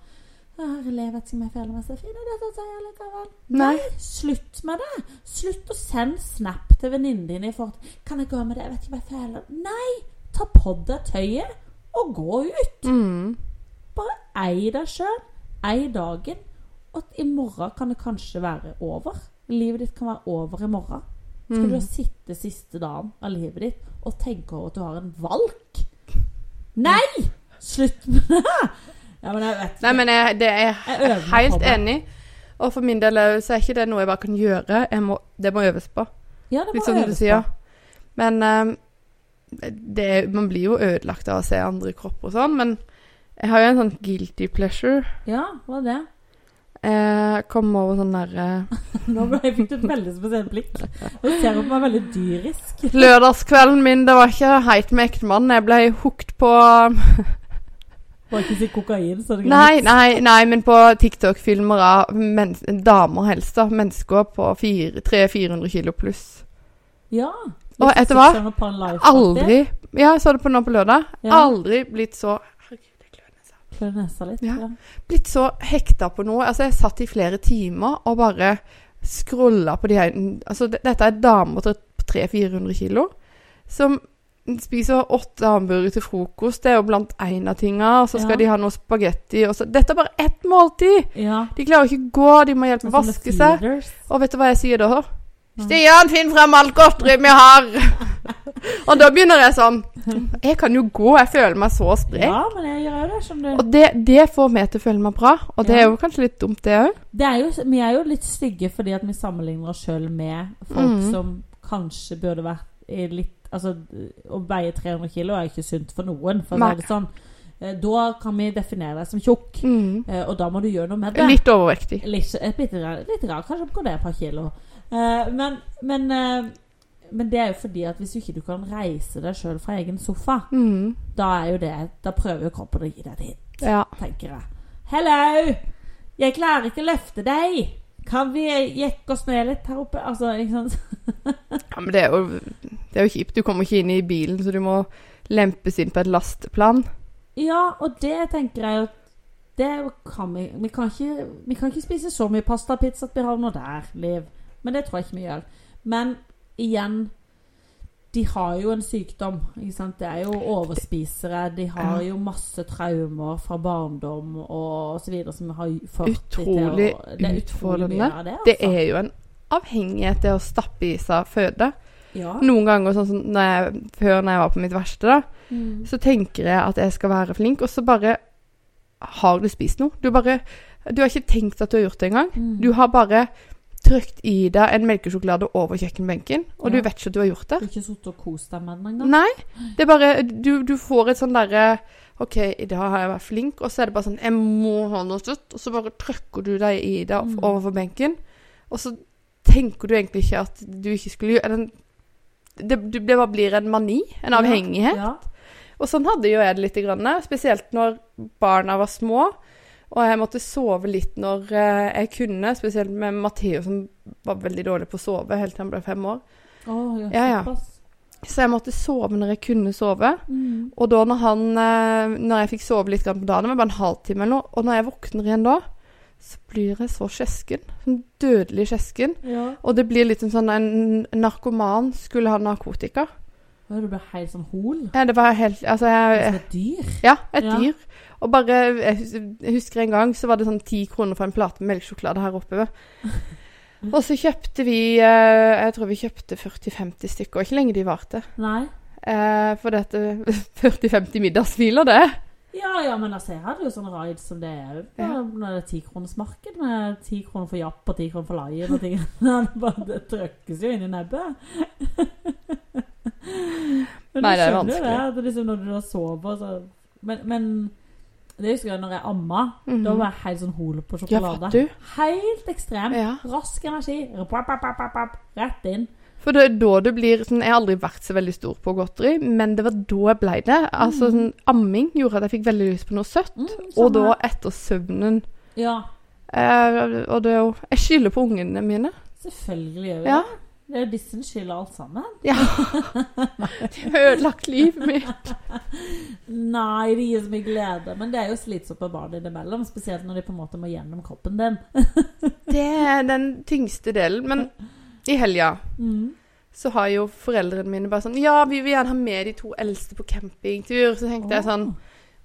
[SPEAKER 2] Herlig, jeg vet ikke om jeg føler meg så fin i dette tøyet likevel.
[SPEAKER 1] Nei.
[SPEAKER 2] Slutt med det! Slutt å sende snap til venninnene dine i forhold til 'Kan jeg gå med det? Jeg vet ikke hva jeg føler.' Nei! Ta på deg tøyet og gå ut.
[SPEAKER 1] Mhm.
[SPEAKER 2] Bare ei deg sjøl. Ei dagen. Og i morgen kan det kanskje være over. Livet ditt kan være over i morgen. Skal
[SPEAKER 1] Mhm. Mm.
[SPEAKER 2] du da sitte siste dagen av livet ditt og tenke over at du har en valk? Nei! Slutt med det! Ja, men jeg vet ikke.
[SPEAKER 1] Nei, men jeg, det er
[SPEAKER 2] Jeg øver meg på
[SPEAKER 1] helt
[SPEAKER 2] det.
[SPEAKER 1] enig. Og for min del er- så er ikke det noe jeg bare kan gjøre. Jeg må, det må øves på.
[SPEAKER 2] ja, det må
[SPEAKER 1] Litt sånn som du
[SPEAKER 2] øves
[SPEAKER 1] sier.
[SPEAKER 2] på.
[SPEAKER 1] Men ehm, det, man blir jo ødelagt av å se andre kropper og sånn. Men jeg har jo en sånn guilty pleasure.
[SPEAKER 2] Ja, hva er det?
[SPEAKER 1] Jeg kom over sånn derre
[SPEAKER 2] Nå ble jeg fikk du et veldig spesielt blikk. Du ser på meg veldig dyrisk.
[SPEAKER 1] Lørdagskvelden min, det var ikke heit med ektemann. Jeg ble hooked på ehm,
[SPEAKER 2] Bare ikke si kokain, så det er
[SPEAKER 1] Nei,
[SPEAKER 2] greit.
[SPEAKER 1] nei, nei, men på TikTok-filmer av men, damer helst, da. Mennesker på fire- 300-400 kilo pluss.
[SPEAKER 2] Ja.
[SPEAKER 1] Og vet du hva?
[SPEAKER 2] Six Hundred Pound Life,
[SPEAKER 1] Aldri Ja, jeg så det på nå på lørdag.
[SPEAKER 2] Ja.
[SPEAKER 1] Aldri blitt så Herregud, jeg klør nesa.
[SPEAKER 2] alltid. Klør nesa litt.
[SPEAKER 1] Ja.
[SPEAKER 2] Ja.
[SPEAKER 1] blitt så hekta på noe. Altså, jeg satt i flere timer og bare scrolla på de her Altså, d- dette er damer til 300-400 kilo som spiser åtte hamburgere til frokost. Det er jo blant en av tinga. Og så skal
[SPEAKER 2] Ja.
[SPEAKER 1] de ha noe spagetti. Og så Dette er bare ett måltid!
[SPEAKER 2] ja.
[SPEAKER 1] De klarer ikke å gå, de må hjelpe
[SPEAKER 2] Sånn
[SPEAKER 1] å
[SPEAKER 2] som
[SPEAKER 1] vaske seg.
[SPEAKER 2] feeders.
[SPEAKER 1] Og vet du hva jeg sier da?
[SPEAKER 2] Nei.
[SPEAKER 1] Stian, finn frem alt godteri vi har! og da begynner jeg sånn Jeg kan jo gå, jeg føler meg så sprek.
[SPEAKER 2] Ja, men jeg gjør jo det, skjønner du.
[SPEAKER 1] Og det, det får meg til å føle meg bra, og det
[SPEAKER 2] Ja.
[SPEAKER 1] er jo kanskje litt dumt, det òg.
[SPEAKER 2] Det er jo, vi er jo litt stygge fordi at vi sammenligner oss sjøl med folk
[SPEAKER 1] Mhm.
[SPEAKER 2] som kanskje burde vært i litt Altså, å veie 300 kilo er ikke sunt for noen, for å
[SPEAKER 1] Nei.
[SPEAKER 2] si det sånn. Eh, Da kan vi definere deg som tjukk, eh, og da må du gjøre noe med det.
[SPEAKER 1] Mm. Litt overvektig.
[SPEAKER 2] Litt, et lite, grann- litt grann, kanskje gå ned et par kilo. Eh, men, men, eh, men det er jo fordi at hvis ikke du kan reise deg sjøl fra egen sofa,
[SPEAKER 1] Mm.
[SPEAKER 2] da er jo det Da prøver jo kroppen å gi deg et hint,
[SPEAKER 1] Ja.
[SPEAKER 2] tenker jeg. Hello! Jeg klarer ikke å løfte deg! Kan vi jekke oss ned litt her oppe? Altså, ikke sant?
[SPEAKER 1] ja, men det er, jo, det er jo kjipt. Du kommer ikke inn i bilen, så du må lempes inn på et lasteplan.
[SPEAKER 2] Ja, og det tenker jeg jo Det kan vi vi kan, ikke, vi kan ikke spise så mye pastapizza at vi havner der, Liv. Men det tror jeg ikke vi gjør. Men igjen De har jo en sykdom. Ikke sant? Det er jo overspisere. De har jo masse traumer fra barndom og osv. som har ført de til å-
[SPEAKER 1] Utrolig
[SPEAKER 2] Det er utrolig mye
[SPEAKER 1] utfordrende.
[SPEAKER 2] av det, altså.
[SPEAKER 1] Det er jo en avhengighet, det å stappe i seg føde.
[SPEAKER 2] ja.
[SPEAKER 1] Noen ganger, sånn som når jeg, før når jeg var på mitt verste, da,
[SPEAKER 2] Mm.
[SPEAKER 1] så tenker jeg at jeg skal være flink, og så bare har du spist noe. Du bare Du har ikke tenkt at du har gjort det engang.
[SPEAKER 2] Mm.
[SPEAKER 1] Du har bare trykt i deg en melkesjokolade over kjøkkenbenken,
[SPEAKER 2] Ja.
[SPEAKER 1] og du vet ikke at du har gjort
[SPEAKER 2] Du
[SPEAKER 1] det.
[SPEAKER 2] har ikke sittet og kost deg med den engang?
[SPEAKER 1] Nei. Det er bare Du, du får et sånn derre OK, i dag har jeg vært flink, og så er det bare sånn Jeg må ha noe søtt. Og så bare trykker du deg i det
[SPEAKER 2] Mm.
[SPEAKER 1] overfor benken. Og så tenker du egentlig ikke at du ikke skulle gjøre eller en- det, det bare blir en mani, en avhengighet.
[SPEAKER 2] Ja.
[SPEAKER 1] Og sånn hadde jo jeg det litt, grann, spesielt når barna var små. Og jeg måtte sove litt når eh, jeg kunne, spesielt med Matheo som var veldig dårlig på å sove helt til han ble fem år.
[SPEAKER 2] Å, ja,
[SPEAKER 1] Ja, ja.
[SPEAKER 2] såpass.
[SPEAKER 1] Så jeg måtte sove når jeg kunne sove.
[SPEAKER 2] Mm.
[SPEAKER 1] Og da når han eh, Når jeg fikk sove litt grann på dagen, det var bare en halvtime eller noe, og når jeg våkner igjen da, så blir jeg så skjesken. Sånn dødelig skjesken.
[SPEAKER 2] ja.
[SPEAKER 1] Og det blir litt som sånn en narkoman skulle ha narkotika.
[SPEAKER 2] Ja, Du ble helt sånn hol.
[SPEAKER 1] Ja, det var helt
[SPEAKER 2] Det
[SPEAKER 1] Altså, jeg,
[SPEAKER 2] er som et dyr.
[SPEAKER 1] Ja, et
[SPEAKER 2] Ja.
[SPEAKER 1] dyr. Og bare, jeg hus- jeg husker en gang så var det sånn ti kroner for en plate med melkesjokolade her oppe. Og så kjøpte vi eh, Jeg tror vi kjøpte 40-50 stykker. Ikke lenge de varte.
[SPEAKER 2] Nei.
[SPEAKER 1] Eh, for dette 40-50 middagshviler, det.
[SPEAKER 2] Ja, ja, men altså, jeg hadde jo sånn raid som det er jo på-
[SPEAKER 1] Ja.
[SPEAKER 2] når det er tikronersmarked med ti kroner for Japp og ti kroner for Lion og ting. Det bare- det trøkkes jo inn i nebbet. Men du
[SPEAKER 1] Nei, det er
[SPEAKER 2] skjønner jo
[SPEAKER 1] vanskelig.
[SPEAKER 2] Det, at det er liksom når du da sover, så Men, men det husker jeg når jeg amma. Da var jeg helt sånn hol på
[SPEAKER 1] Mhm. Mm. Ja,
[SPEAKER 2] sjokolade.
[SPEAKER 1] vet du.
[SPEAKER 2] helt ekstrem.
[SPEAKER 1] Ja.
[SPEAKER 2] Rask energi. Pap, pap, pap, pap, pap. Rett inn.
[SPEAKER 1] For det er da det blir sånn, Jeg har aldri vært så veldig stor på godteri, men det var da jeg ble det.
[SPEAKER 2] Mhm.
[SPEAKER 1] Altså, sånn, amming gjorde at jeg fikk veldig lyst på noe søtt.
[SPEAKER 2] Mm,
[SPEAKER 1] Og da
[SPEAKER 2] sånn er-
[SPEAKER 1] etter søvnen
[SPEAKER 2] Ja.
[SPEAKER 1] eh, Og det er jo Jeg skylder på ungene mine.
[SPEAKER 2] Selvfølgelig gjør vi
[SPEAKER 1] Ja.
[SPEAKER 2] det. Det er jo disse som skylder alt sammen.
[SPEAKER 1] De har ødelagt livet mitt.
[SPEAKER 2] Nei, det gir så mye glede. Men det er jo slitsomt med barn innimellom. Spesielt når de på en måte må gjennom kroppen din.
[SPEAKER 1] Det er den tyngste delen. Men i helga
[SPEAKER 2] Mm.
[SPEAKER 1] så har jo foreldrene mine bare sånn Ja, vi vil gjerne ha med de to eldste på campingtur. Så tenkte jeg sånn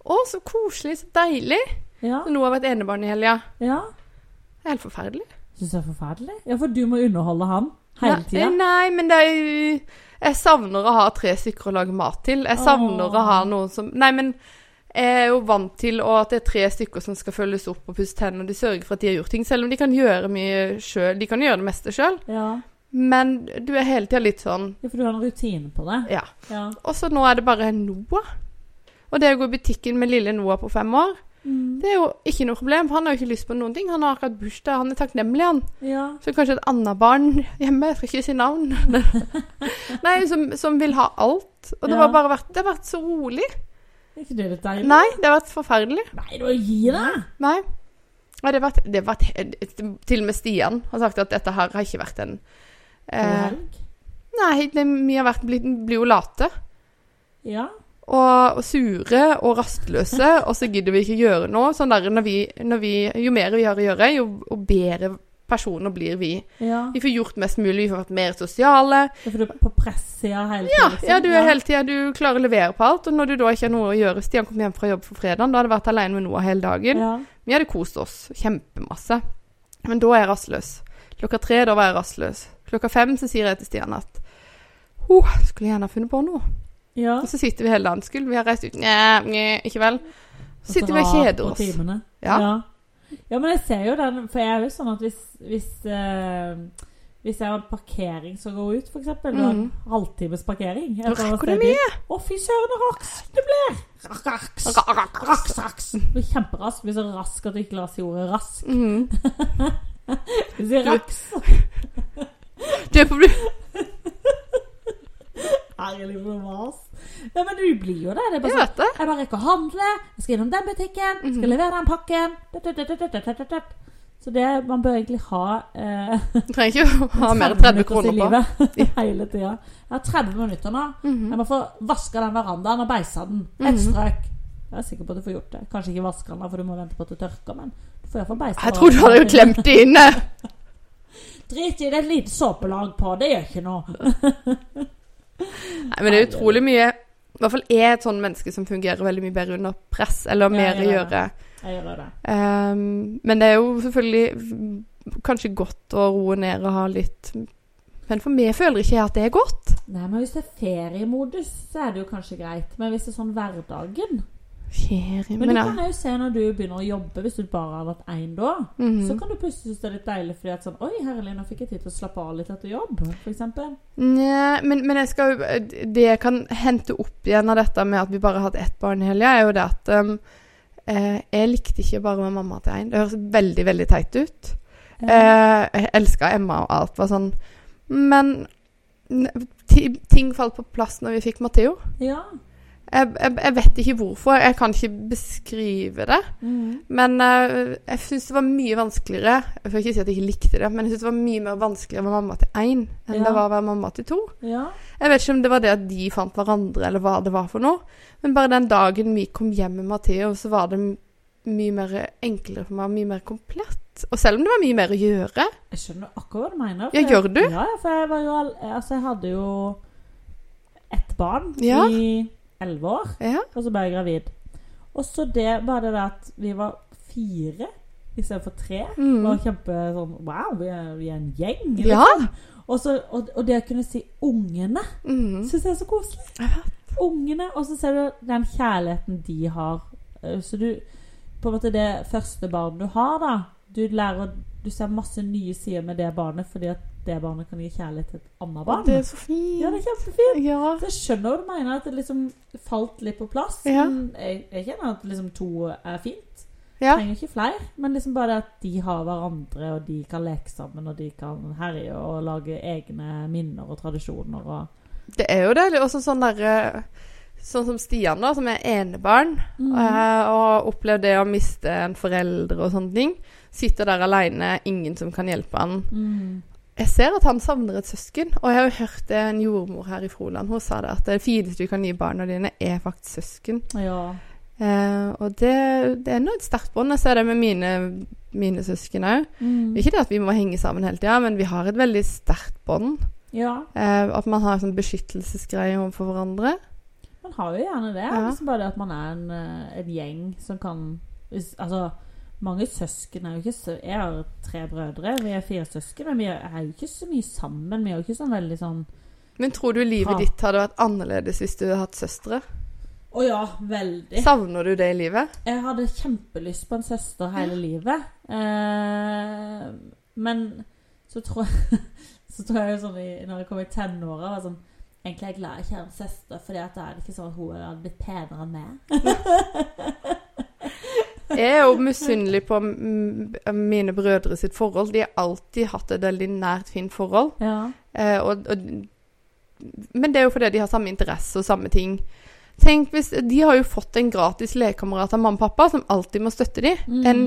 [SPEAKER 1] Å, så koselig. Så deilig.
[SPEAKER 2] Ja.
[SPEAKER 1] Så nå har jeg vært enebarn i helga.
[SPEAKER 2] ja.
[SPEAKER 1] Det er helt forferdelig.
[SPEAKER 2] Syns jeg er forferdelig. Ja, for du må underholde han hele
[SPEAKER 1] Nei,
[SPEAKER 2] tida.
[SPEAKER 1] nei, men det er jo Jeg savner å ha tre stykker å lage mat til. Jeg savner
[SPEAKER 2] Åh.
[SPEAKER 1] å ha noen som Nei, men jeg er jo vant til å- at det er tre stykker som skal følges opp og pusse tennene, og de sørger for at de har gjort ting, selv om de kan gjøre mye sjøl. De kan gjøre det meste sjøl,
[SPEAKER 2] Ja.
[SPEAKER 1] men du er hele tida litt sånn
[SPEAKER 2] ja, for du har en rutine på det.
[SPEAKER 1] Ja.
[SPEAKER 2] Ja.
[SPEAKER 1] Og så nå er det bare Noah. Og det å gå i butikken med lille Noah på fem år,
[SPEAKER 2] Mm.
[SPEAKER 1] det er jo ikke noe problem. for Han har jo ikke lyst på noen ting. Han har akkurat bursdag, han er takknemlig, han.
[SPEAKER 2] ja.
[SPEAKER 1] Så kanskje et annet barn hjemme, jeg skal ikke si navn, Nei, som, som vil ha alt. Og det,
[SPEAKER 2] Ja.
[SPEAKER 1] var bare vært, det har vært så rolig.
[SPEAKER 2] Er ikke det litt deilig?
[SPEAKER 1] Nei, det har vært forferdelig.
[SPEAKER 2] Nei, du gi deg!
[SPEAKER 1] Nei. Og det har vært, det har vært he- Til og med Stian har sagt at dette her har ikke vært en
[SPEAKER 2] God
[SPEAKER 1] eh,
[SPEAKER 2] helg.
[SPEAKER 1] Nei, det, vi har vært, blitt, blir jo late.
[SPEAKER 2] Ja.
[SPEAKER 1] Og, og sure og rastløse, og så gidder vi ikke gjøre noe. Sånn der, når vi, når vi, jo mer vi har å gjøre, jo og bedre personer blir vi.
[SPEAKER 2] ja.
[SPEAKER 1] Vi får gjort mest mulig, vi får vært mer sosiale.
[SPEAKER 2] Det er fordi du er på pressida hele tiden.
[SPEAKER 1] Ja,
[SPEAKER 2] liksom.
[SPEAKER 1] ja du er hele tida Du klarer å levere på alt. Og når du da ikke har noe å gjøre Stian kom hjem fra jobb for fredagen, da hadde jeg vært alene med Noah hele dagen.
[SPEAKER 2] Ja.
[SPEAKER 1] Vi hadde kost oss kjempemasse. Men da er jeg rastløs. Klokka tre, da var jeg rastløs. Klokka fem så sier jeg til Stian at oh, skulle gjerne ha funnet på noe.
[SPEAKER 2] ja.
[SPEAKER 1] Og så sitter vi hele dagen. Skulle vi ha reist ut? Nja, nja, ikke vel. Så sitter vi og
[SPEAKER 2] Dra
[SPEAKER 1] kjeder
[SPEAKER 2] på
[SPEAKER 1] oss.
[SPEAKER 2] timene.
[SPEAKER 1] Ja.
[SPEAKER 2] ja. Ja, men jeg ser jo den, for jeg er jo sånn at hvis Hvis, eh, hvis jeg har en parkering som går ut, f.eks., mm.
[SPEAKER 1] Mhm.
[SPEAKER 2] en halvtimes parkering
[SPEAKER 1] Da rekker du
[SPEAKER 2] mye! Å, fy søren, så raskt du blir! Raks, raks, raks! Du er kjemperask. Du blir så rask at du ikke la oss i ordet rask.
[SPEAKER 1] Mhm.
[SPEAKER 2] Du sier raks.
[SPEAKER 1] Du er på blu-
[SPEAKER 2] Herlig for mas. Nei, men du blir jo det. Det er
[SPEAKER 1] Jeg
[SPEAKER 2] bare sånn
[SPEAKER 1] vet det.
[SPEAKER 2] Jeg bare rekker å handle, jeg skal innom den butikken, jeg
[SPEAKER 1] Mhm.
[SPEAKER 2] skal levere den pakken. Tut, tut, tut, tut, tut, tut, tut. Så det man bør egentlig ha eh,
[SPEAKER 1] Du trenger ikke å ha mer enn
[SPEAKER 2] 30
[SPEAKER 1] 30
[SPEAKER 2] minutter
[SPEAKER 1] kroner
[SPEAKER 2] i
[SPEAKER 1] på. Mhm.
[SPEAKER 2] livet hele tida. Jeg har 30 minutter nå. Jeg må få vaska den verandaen og beisa den. Et strøk. Jeg er sikker på at du får gjort det. Kanskje ikke vaske den, da, for du må vente på at det tørker, men du får iallfall beisa
[SPEAKER 1] Jeg tror du hadde jo klemt det inne.
[SPEAKER 2] Drit i det, et lite såpelag på. Det gjør ikke noe.
[SPEAKER 1] Nei, men det er utrolig mye I hvert fall er et sånn menneske som fungerer veldig mye bedre under press, eller
[SPEAKER 2] Ja,
[SPEAKER 1] mer å
[SPEAKER 2] ja, ja.
[SPEAKER 1] gjøre.
[SPEAKER 2] Jeg gjør det.
[SPEAKER 1] Ehm, men det er jo selvfølgelig mm, kanskje godt å roe ned og ha litt Men for meg føler ikke jeg at det er godt.
[SPEAKER 2] Nei, men hvis det er feriemodus, så er det jo kanskje greit. Men hvis det er sånn hverdagen
[SPEAKER 1] Ferie
[SPEAKER 2] Men
[SPEAKER 1] Men
[SPEAKER 2] du
[SPEAKER 1] ja.
[SPEAKER 2] kan jo se når du begynner å jobbe, hvis du bare har vært én da, så
[SPEAKER 1] Mhm.
[SPEAKER 2] kan du plutselig synes det er litt deilig fordi at sånn Oi, herlig, nå fikk jeg tid til å slappe av litt etter jobb, f.eks.
[SPEAKER 1] Nja, men, men jeg skal jo Det jeg kan hente opp igjen av dette med at vi bare har hatt ett barn i helga, er jo det at um, eh, Jeg likte ikke å bare være mamma til én. Det høres veldig, veldig teit ut. Eh, jeg elska Emma og alt var sånn. Men n- ti- ting falt på plass når vi fikk Matheo.
[SPEAKER 2] Ja.
[SPEAKER 1] Jeg, jeg, jeg vet ikke hvorfor. Jeg kan ikke beskrive det.
[SPEAKER 2] Mhm.
[SPEAKER 1] Men eh, jeg syns det var mye vanskeligere Jeg får ikke si at jeg ikke likte det, men jeg syns det var mye mer vanskelig å være mamma til én enn
[SPEAKER 2] Ja.
[SPEAKER 1] det var å være mamma til to.
[SPEAKER 2] ja.
[SPEAKER 1] Jeg vet ikke om det var det at de fant hverandre, eller hva det var for noe. Men bare den dagen vi kom hjem med Matheo, så var det m- mye mer enklere for meg, mye mer komplett. Og selv om det var mye mer å gjøre.
[SPEAKER 2] Jeg skjønner akkurat hva du mener. for
[SPEAKER 1] Ja,
[SPEAKER 2] jeg-
[SPEAKER 1] gjør du?
[SPEAKER 2] Ja, ja, for jeg var jo all- Altså, jeg hadde jo ett barn
[SPEAKER 1] Ja.
[SPEAKER 2] i elleve år,
[SPEAKER 1] Ja.
[SPEAKER 2] og så ble jeg gravid. Og så det bare det at vi var fire istedenfor tre. Det var
[SPEAKER 1] Mm.
[SPEAKER 2] kjempe sånn Wow, vi er, vi er en gjeng. liksom.
[SPEAKER 1] Ja.
[SPEAKER 2] Og, så, og, og det å kunne si 'ungene'
[SPEAKER 1] Mm.
[SPEAKER 2] syns jeg er så koselig. Ungene. Og så ser du den kjærligheten de har. Eh, Så du På en måte det første barnet du har, da Du lærer Du ser masse nye sider med det barnet fordi at det barnet kan gi kjærlighet til et annet barn.
[SPEAKER 1] Det er så fint.
[SPEAKER 2] ja, det er kjempefint.
[SPEAKER 1] Ja.
[SPEAKER 2] Så jeg skjønner hva du mener, at det liksom falt litt på plass.
[SPEAKER 1] Ja.
[SPEAKER 2] Men jeg, jeg kjenner at liksom to er fint.
[SPEAKER 1] Ja.
[SPEAKER 2] Trenger ikke flere. Men liksom bare det at de har hverandre, og de kan leke sammen, og de kan herje og lage egne minner og tradisjoner og
[SPEAKER 1] Det er jo det. det er Også sånn derre Sånn som Stian, da, som er enebarn,
[SPEAKER 2] Mm.
[SPEAKER 1] eh, og opplevde det å miste en forelder og sånne ting. Sitter der aleine, ingen som kan hjelpe han.
[SPEAKER 2] Mm.
[SPEAKER 1] Jeg ser at han savner et søsken, og jeg har jo hørt det en jordmor her i Froland. Hun sa det at det fineste du kan gi barna dine, er faktisk søsken.
[SPEAKER 2] Ja.
[SPEAKER 1] Eh, og det, det er nå et sterkt bånd. Jeg ser det med mine, mine søsken òg.
[SPEAKER 2] Mm.
[SPEAKER 1] Ikke det at vi må henge sammen hele tida, men vi har et veldig sterkt bånd.
[SPEAKER 2] ja.
[SPEAKER 1] Eh, at man har en sånn beskyttelsesgreie overfor hverandre.
[SPEAKER 2] Man har jo gjerne det.
[SPEAKER 1] Ja.
[SPEAKER 2] Liksom bare det at man er en, eh, en gjeng som kan hvis, Altså, mange søsken er jo ikke så Jeg har tre brødre, vi er fire søsken, men vi er er jo ikke så mye sammen. Vi er jo ikke sånn veldig sånn
[SPEAKER 1] Men tror du livet
[SPEAKER 2] Ha.
[SPEAKER 1] ditt hadde vært annerledes hvis du hadde hatt søstre?
[SPEAKER 2] Å ja, veldig.
[SPEAKER 1] Savner du det i livet?
[SPEAKER 2] Jeg hadde kjempelyst på en søster hele livet. Eh, men så tror jeg Så tror jeg jo sånn i, når jeg kom i tenåra, var jeg sånn Egentlig er jeg glad jeg ikke har en søster, Fordi at da er det ikke sånn at hun hadde blitt penere enn meg.
[SPEAKER 1] Jeg er jo misunnelig på mm, mine brødre sitt forhold. De har alltid hatt et veldig nært, fint forhold.
[SPEAKER 2] ja.
[SPEAKER 1] Eh, og, og, men det er jo fordi de har samme interesse og samme ting. Tenk hvis, De har jo fått en gratis lekekamerat av mamma og pappa, som alltid må støtte dem.
[SPEAKER 2] Mm.
[SPEAKER 1] En,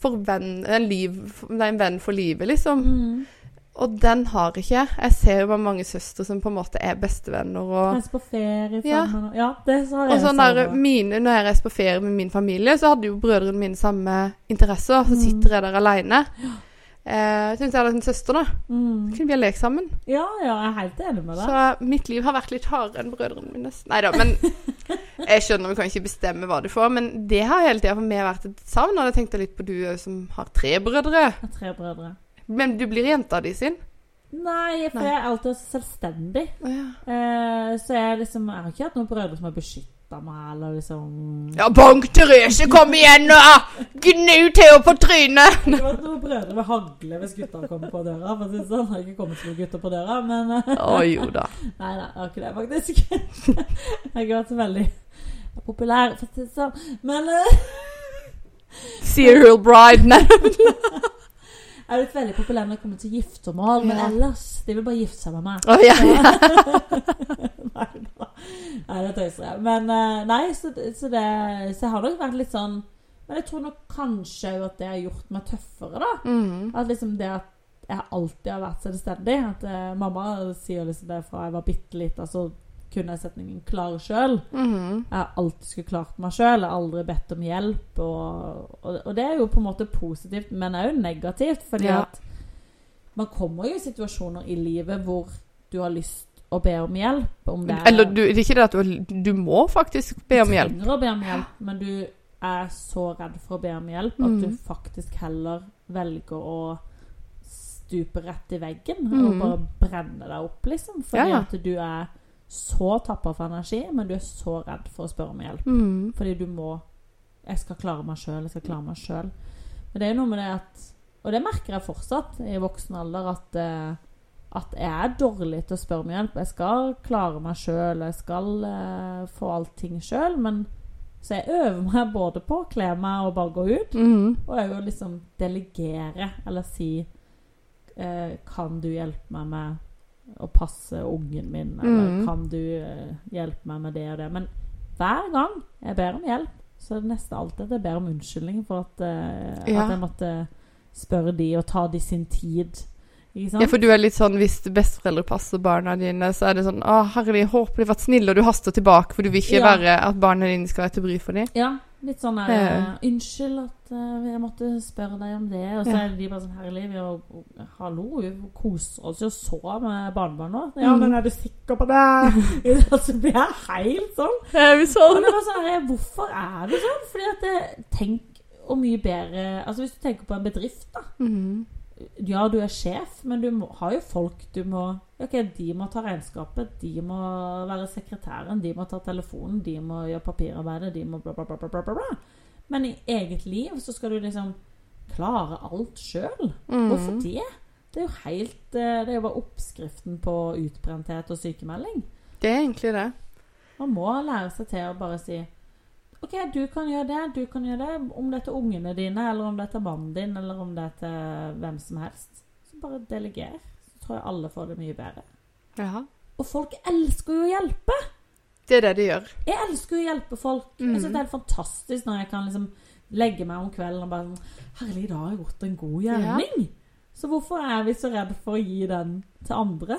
[SPEAKER 1] for venn, en, liv, nei, en venn for livet, liksom.
[SPEAKER 2] Mm.
[SPEAKER 1] Og den har ikke jeg. Jeg ser jo bare mange søstre som på en måte er bestevenner og
[SPEAKER 2] Kanskje på ferie
[SPEAKER 1] Ja.
[SPEAKER 2] sammen og- Ja, det har
[SPEAKER 1] og
[SPEAKER 2] jeg
[SPEAKER 1] sånn
[SPEAKER 2] savnet.
[SPEAKER 1] der, mine, Når jeg reiser på ferie med min familie, så hadde jo brødrene mine samme interesser. Så
[SPEAKER 2] Mm.
[SPEAKER 1] sitter jeg der aleine. Eh, Syns jeg hadde en søster, da.
[SPEAKER 2] Mm.
[SPEAKER 1] Kunne vi ha lekt sammen?
[SPEAKER 2] Ja, ja, jeg er helt enig med deg.
[SPEAKER 1] Så mitt liv har vært litt hardere enn brødrene mine. Nei da, men jeg skjønner vi kan ikke bestemme hva du får, men det har hele tida for meg vært et savn. Og jeg tenkte litt på du eh, som har tre brødre.
[SPEAKER 2] Jeg har tre brødre.
[SPEAKER 1] Men du blir jenta di sin.
[SPEAKER 2] Nei, for
[SPEAKER 1] Nei.
[SPEAKER 2] jeg er alltid så selvstendig. Eh, så jeg liksom Jeg har ikke hatt noen brødre som har beskytta meg, eller liksom
[SPEAKER 1] Ja, bank Therese, kom igjen nå! Gnu Theo på trynet!
[SPEAKER 2] Det var noen brødre med hagle hvis gutta kom på døra. For å si det sånn, det har ikke kommet så noen gutter på døra, men eh,
[SPEAKER 1] Å jo da.
[SPEAKER 2] Nei, nei, jeg har ikke det, faktisk. Jeg har ikke vært så veldig populær, for å si det sånn. Men eh,
[SPEAKER 1] Serial bride. Nei.
[SPEAKER 2] jeg har blitt veldig populær når det kommer til giftermål, men
[SPEAKER 1] Ja.
[SPEAKER 2] ellers De vil bare gifte seg med meg.
[SPEAKER 1] Å ja, ja.
[SPEAKER 2] nei, da. nei, det tøyser jeg. Men eh, nei, så, så det Så jeg har nok vært litt sånn Men jeg tror nok kanskje at det har gjort meg tøffere, da.
[SPEAKER 1] Mhm.
[SPEAKER 2] At liksom det at jeg alltid har vært selvstendig At eh, mamma sier liksom det fra jeg var bitte lita, så kunne jeg setningen 'klare sjøl'.
[SPEAKER 1] Mhm.
[SPEAKER 2] Jeg har alltid skulle klart meg sjøl. Jeg har aldri bedt om hjelp. Og, og, og det er jo på en måte positivt, men òg negativt. Fordi
[SPEAKER 1] Ja.
[SPEAKER 2] at man kommer jo i situasjoner i livet hvor du har lyst å be om hjelp. Om det er,
[SPEAKER 1] Eller du, det er ikke det at du, har- du må faktisk be om hjelp.
[SPEAKER 2] trenger å be om hjelp, men du er så redd for å be om hjelp at
[SPEAKER 1] Mm.
[SPEAKER 2] du faktisk heller velger å stupe rett i veggen og
[SPEAKER 1] Mm.
[SPEAKER 2] bare brenne deg opp, liksom. Fordi
[SPEAKER 1] Ja, ja.
[SPEAKER 2] at du er så tappa for energi, men du er så redd for å spørre om hjelp.
[SPEAKER 1] Mhm.
[SPEAKER 2] Mm. Fordi du må Jeg skal klare meg sjøl, jeg skal klare meg sjøl. Men det er jo noe med det at Og det merker jeg fortsatt i voksen alder, at, eh, at jeg er dårlig til å spørre om hjelp. Jeg skal klare meg sjøl, jeg skal eh, få allting sjøl. Men så jeg øver meg både på å kle meg og bare gå ut,
[SPEAKER 1] Mhm.
[SPEAKER 2] og òg å liksom delegere eller si eh, Kan du hjelpe meg med å passe ungen min, eller
[SPEAKER 1] Mm.
[SPEAKER 2] kan du eh, hjelpe meg med det og det? Men hver gang jeg ber om hjelp, så er det nesten alltid at jeg ber om unnskyldning for at, eh,
[SPEAKER 1] Ja.
[SPEAKER 2] at jeg måtte spørre de og ta de sin tid. Ikke sant?
[SPEAKER 1] Ja, for du er litt sånn hvis besteforeldre passer barna dine, så er det sånn Å, herlig, håper de har vært snille, og du haster tilbake, for du vil ikke
[SPEAKER 2] Ja.
[SPEAKER 1] være at barna dine skal være til bry for dem.
[SPEAKER 2] Ja, litt sånn der,
[SPEAKER 1] Ja.
[SPEAKER 2] eh, Unnskyld at eh, jeg måtte spørre deg om det. Og så
[SPEAKER 1] Ja.
[SPEAKER 2] er de bare sånn Herlig, vi har- hallo, vi koser oss jo så med barnebarn nå. Ja,
[SPEAKER 1] Mm.
[SPEAKER 2] men er du sikker på det? altså, blir jeg helt sånn.
[SPEAKER 1] Er vi
[SPEAKER 2] Og
[SPEAKER 1] sånn?
[SPEAKER 2] det var sånn her, Hvorfor er du sånn? Fordi at det, Tenk hvor mye bedre Altså, hvis du tenker på en bedrift, da.
[SPEAKER 1] Mhm.
[SPEAKER 2] Ja, du er sjef, men du må, har jo folk du må Ok, de må ta regnskapet, de må være sekretæren, de må ta telefonen, de må gjøre papirarbeidet, de må bla, bla, bla, bla, bla, bla, bla. Men i eget liv så skal du liksom klare alt sjøl.
[SPEAKER 1] Mhm.
[SPEAKER 2] Hvorfor det? Det er jo helt eh, Det er jo bare oppskriften på utbrenthet og sykemelding.
[SPEAKER 1] Det er egentlig det.
[SPEAKER 2] Man må lære seg til å bare si OK, du kan gjøre det, du kan gjøre det. Om det er til ungene dine, eller om det er til mannen din, eller om det er til hvem som helst. Så bare deleger. Så tror jeg alle får det mye bedre.
[SPEAKER 1] Ja.
[SPEAKER 2] Og folk elsker jo å hjelpe!
[SPEAKER 1] Det er det de gjør.
[SPEAKER 2] Jeg elsker jo å hjelpe folk. Jeg
[SPEAKER 1] Mm.
[SPEAKER 2] synes det er helt fantastisk når jeg kan liksom legge meg om kvelden og bare sånn Herlig, i dag har jeg gjort en god gjerning! Så hvorfor er vi så redd for å gi den til andre?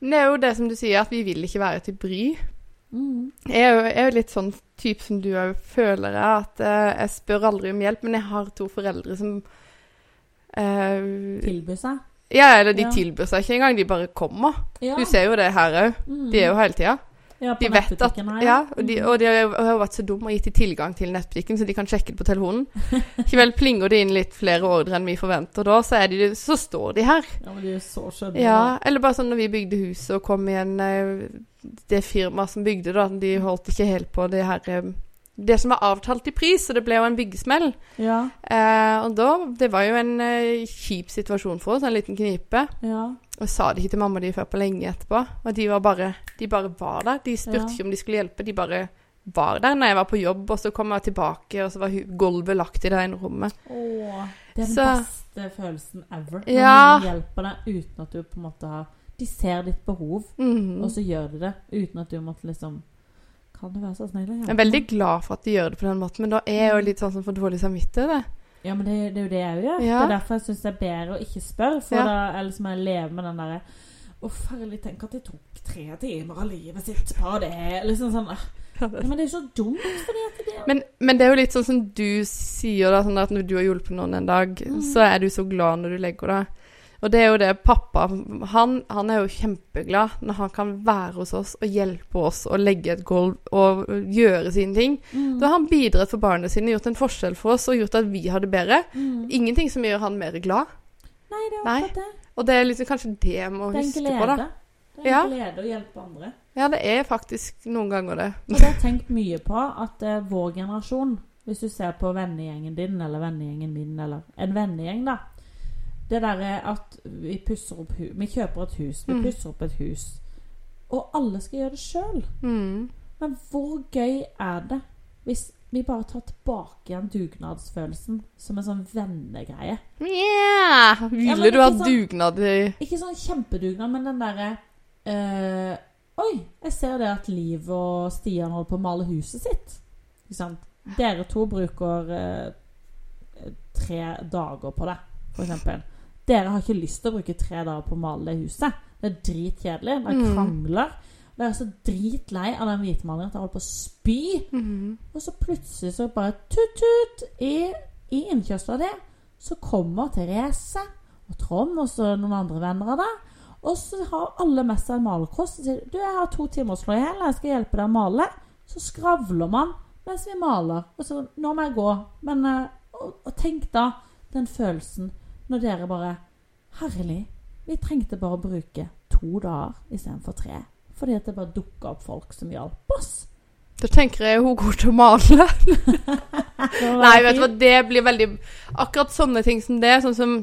[SPEAKER 1] Men det er jo det som du sier, at vi vil ikke være til bry.
[SPEAKER 2] Mm.
[SPEAKER 1] Jeg er jo, jeg er jo litt sånn type som du òg føler jeg, at eh, jeg spør aldri om hjelp, men jeg har to foreldre som eh,
[SPEAKER 2] Tilby seg.
[SPEAKER 1] Ja, eller de
[SPEAKER 2] Ja.
[SPEAKER 1] tilbyr seg ikke engang, de bare kommer.
[SPEAKER 2] Ja. Mm.
[SPEAKER 1] Du ser jo det her òg. De er jo hele tida.
[SPEAKER 2] ja, Mm. på
[SPEAKER 1] De vet at
[SPEAKER 2] nettbutikken her,
[SPEAKER 1] Ja, og de, og de har jo- har jo vært så dumme og gitt de tilgang til nettbutikken, så de kan sjekke det på telefonen. Likevel plinger det inn litt flere ordre enn vi forventer, og da så, er de, så står de her.
[SPEAKER 2] Ja, men de er jo så skjønne.
[SPEAKER 1] Ja, eller bare sånn når vi bygde huset og kom igjen eh, Det firmaet som bygde, da, de holdt ikke helt på det her eh, Det som var avtalt i pris, så det ble jo en byggesmell.
[SPEAKER 2] Ja,
[SPEAKER 1] Eh, og da Det var jo en eh, kjip situasjon for oss, en liten knipe.
[SPEAKER 2] ja.
[SPEAKER 1] Og jeg sa det ikke til mamma og de før på lenge etterpå. Og de var bare De bare var der. De spurte
[SPEAKER 2] Ja.
[SPEAKER 1] ikke om de skulle hjelpe, de bare var der når jeg var på jobb, og så kom jeg tilbake, og så var hu- gulvet lagt i det ene rommet.
[SPEAKER 2] Åh, den
[SPEAKER 1] Så-
[SPEAKER 2] beste følelsen ever. Når
[SPEAKER 1] Ja.
[SPEAKER 2] noen hjelper deg uten at du på en måte har De ser ditt behov,
[SPEAKER 1] Mhm.
[SPEAKER 2] og så gjør de det uten at du måtte liksom Kan du være så snill å hjelpe? Mhm.
[SPEAKER 1] Jeg er veldig glad for at de gjør det på den måten, men da er jeg jo litt sånn som får dårlig samvittighet. jeg.
[SPEAKER 2] Ja, men det, det er jo det jeg òg gjør.
[SPEAKER 1] Ja.
[SPEAKER 2] Det er derfor jeg syns det er bedre å ikke spørre. For
[SPEAKER 1] Ja.
[SPEAKER 2] da ellers må jeg leve med den derre Å, farlig, tenk at det tok tre timer av livet sitt på det. Liksom sånn ah. ja, Men det er jo så dumt, fordi at det
[SPEAKER 1] Men, men det er jo litt sånn som du sier da, sånn at når du har hjulpet noen en dag,
[SPEAKER 2] Mhm.
[SPEAKER 1] så er du så glad når du legger deg. Og det er jo det pappa han, han er jo kjempeglad når han kan være hos oss og hjelpe oss å legge et gulv og gjøre sine ting.
[SPEAKER 2] Mm.
[SPEAKER 1] Da har han bidratt for barna sine, gjort en forskjell for oss og gjort at vi har det bedre.
[SPEAKER 2] Mm.
[SPEAKER 1] Ingenting som gjør han mer glad.
[SPEAKER 2] Nei, det er
[SPEAKER 1] Nei.
[SPEAKER 2] akkurat det.
[SPEAKER 1] Og det er liksom kanskje det jeg må
[SPEAKER 2] Det er en
[SPEAKER 1] huske på, da.
[SPEAKER 2] glede. Det er
[SPEAKER 1] Ja.
[SPEAKER 2] en glede å hjelpe andre.
[SPEAKER 1] Ja, det er faktisk noen ganger det.
[SPEAKER 2] Og det har jeg tenkt mye på, at eh, vår generasjon Hvis du ser på vennegjengen din, eller vennegjengen min, eller en vennegjeng, da Det derre at vi pusser opp hu Vi kjøper et hus, vi
[SPEAKER 1] Mm.
[SPEAKER 2] pusser opp et hus. Og alle skal gjøre det sjøl.
[SPEAKER 1] Mm.
[SPEAKER 2] Men hvor gøy er det hvis vi bare tar tilbake igjen dugnadsfølelsen som en sånn vennegreie?
[SPEAKER 1] Yeah! Ville
[SPEAKER 2] men
[SPEAKER 1] du ha
[SPEAKER 2] ikke sant?
[SPEAKER 1] dugnad i
[SPEAKER 2] Ikke sånn kjempedugnad, men den derre eh, Oi, jeg ser det at Liv og Stian holder på å male huset sitt. Ikke sant? Dere to bruker eh, tre dager på det, for eksempel. Dere har ikke lyst til å bruke tre dager på å male det huset. Det er dritkjedelig. Dere
[SPEAKER 1] Mm.
[SPEAKER 2] krangler. Dere er så dritlei av den hvitmalingen at dere holder på å spy.
[SPEAKER 1] Mhm.
[SPEAKER 2] Og så plutselig så bare tut-tut i, i innkjørselen av det, så kommer Therese og Trond og så noen andre venner av deg. Og så har alle med seg en malerkost og sier du, jeg har to timer å slå i hjel, jeg skal hjelpe deg å male. Så skravler man mens vi maler. Og så nå må jeg gå. Men eh, og, og tenk da den følelsen når dere bare Herlig, vi trengte bare å bruke to dager istedenfor tre. Fordi at det bare dukka opp folk som hjalp oss.
[SPEAKER 1] Da tenker jeg hun går til å male. Nei, vet du hva, det blir veldig Akkurat sånne ting som det, sånn som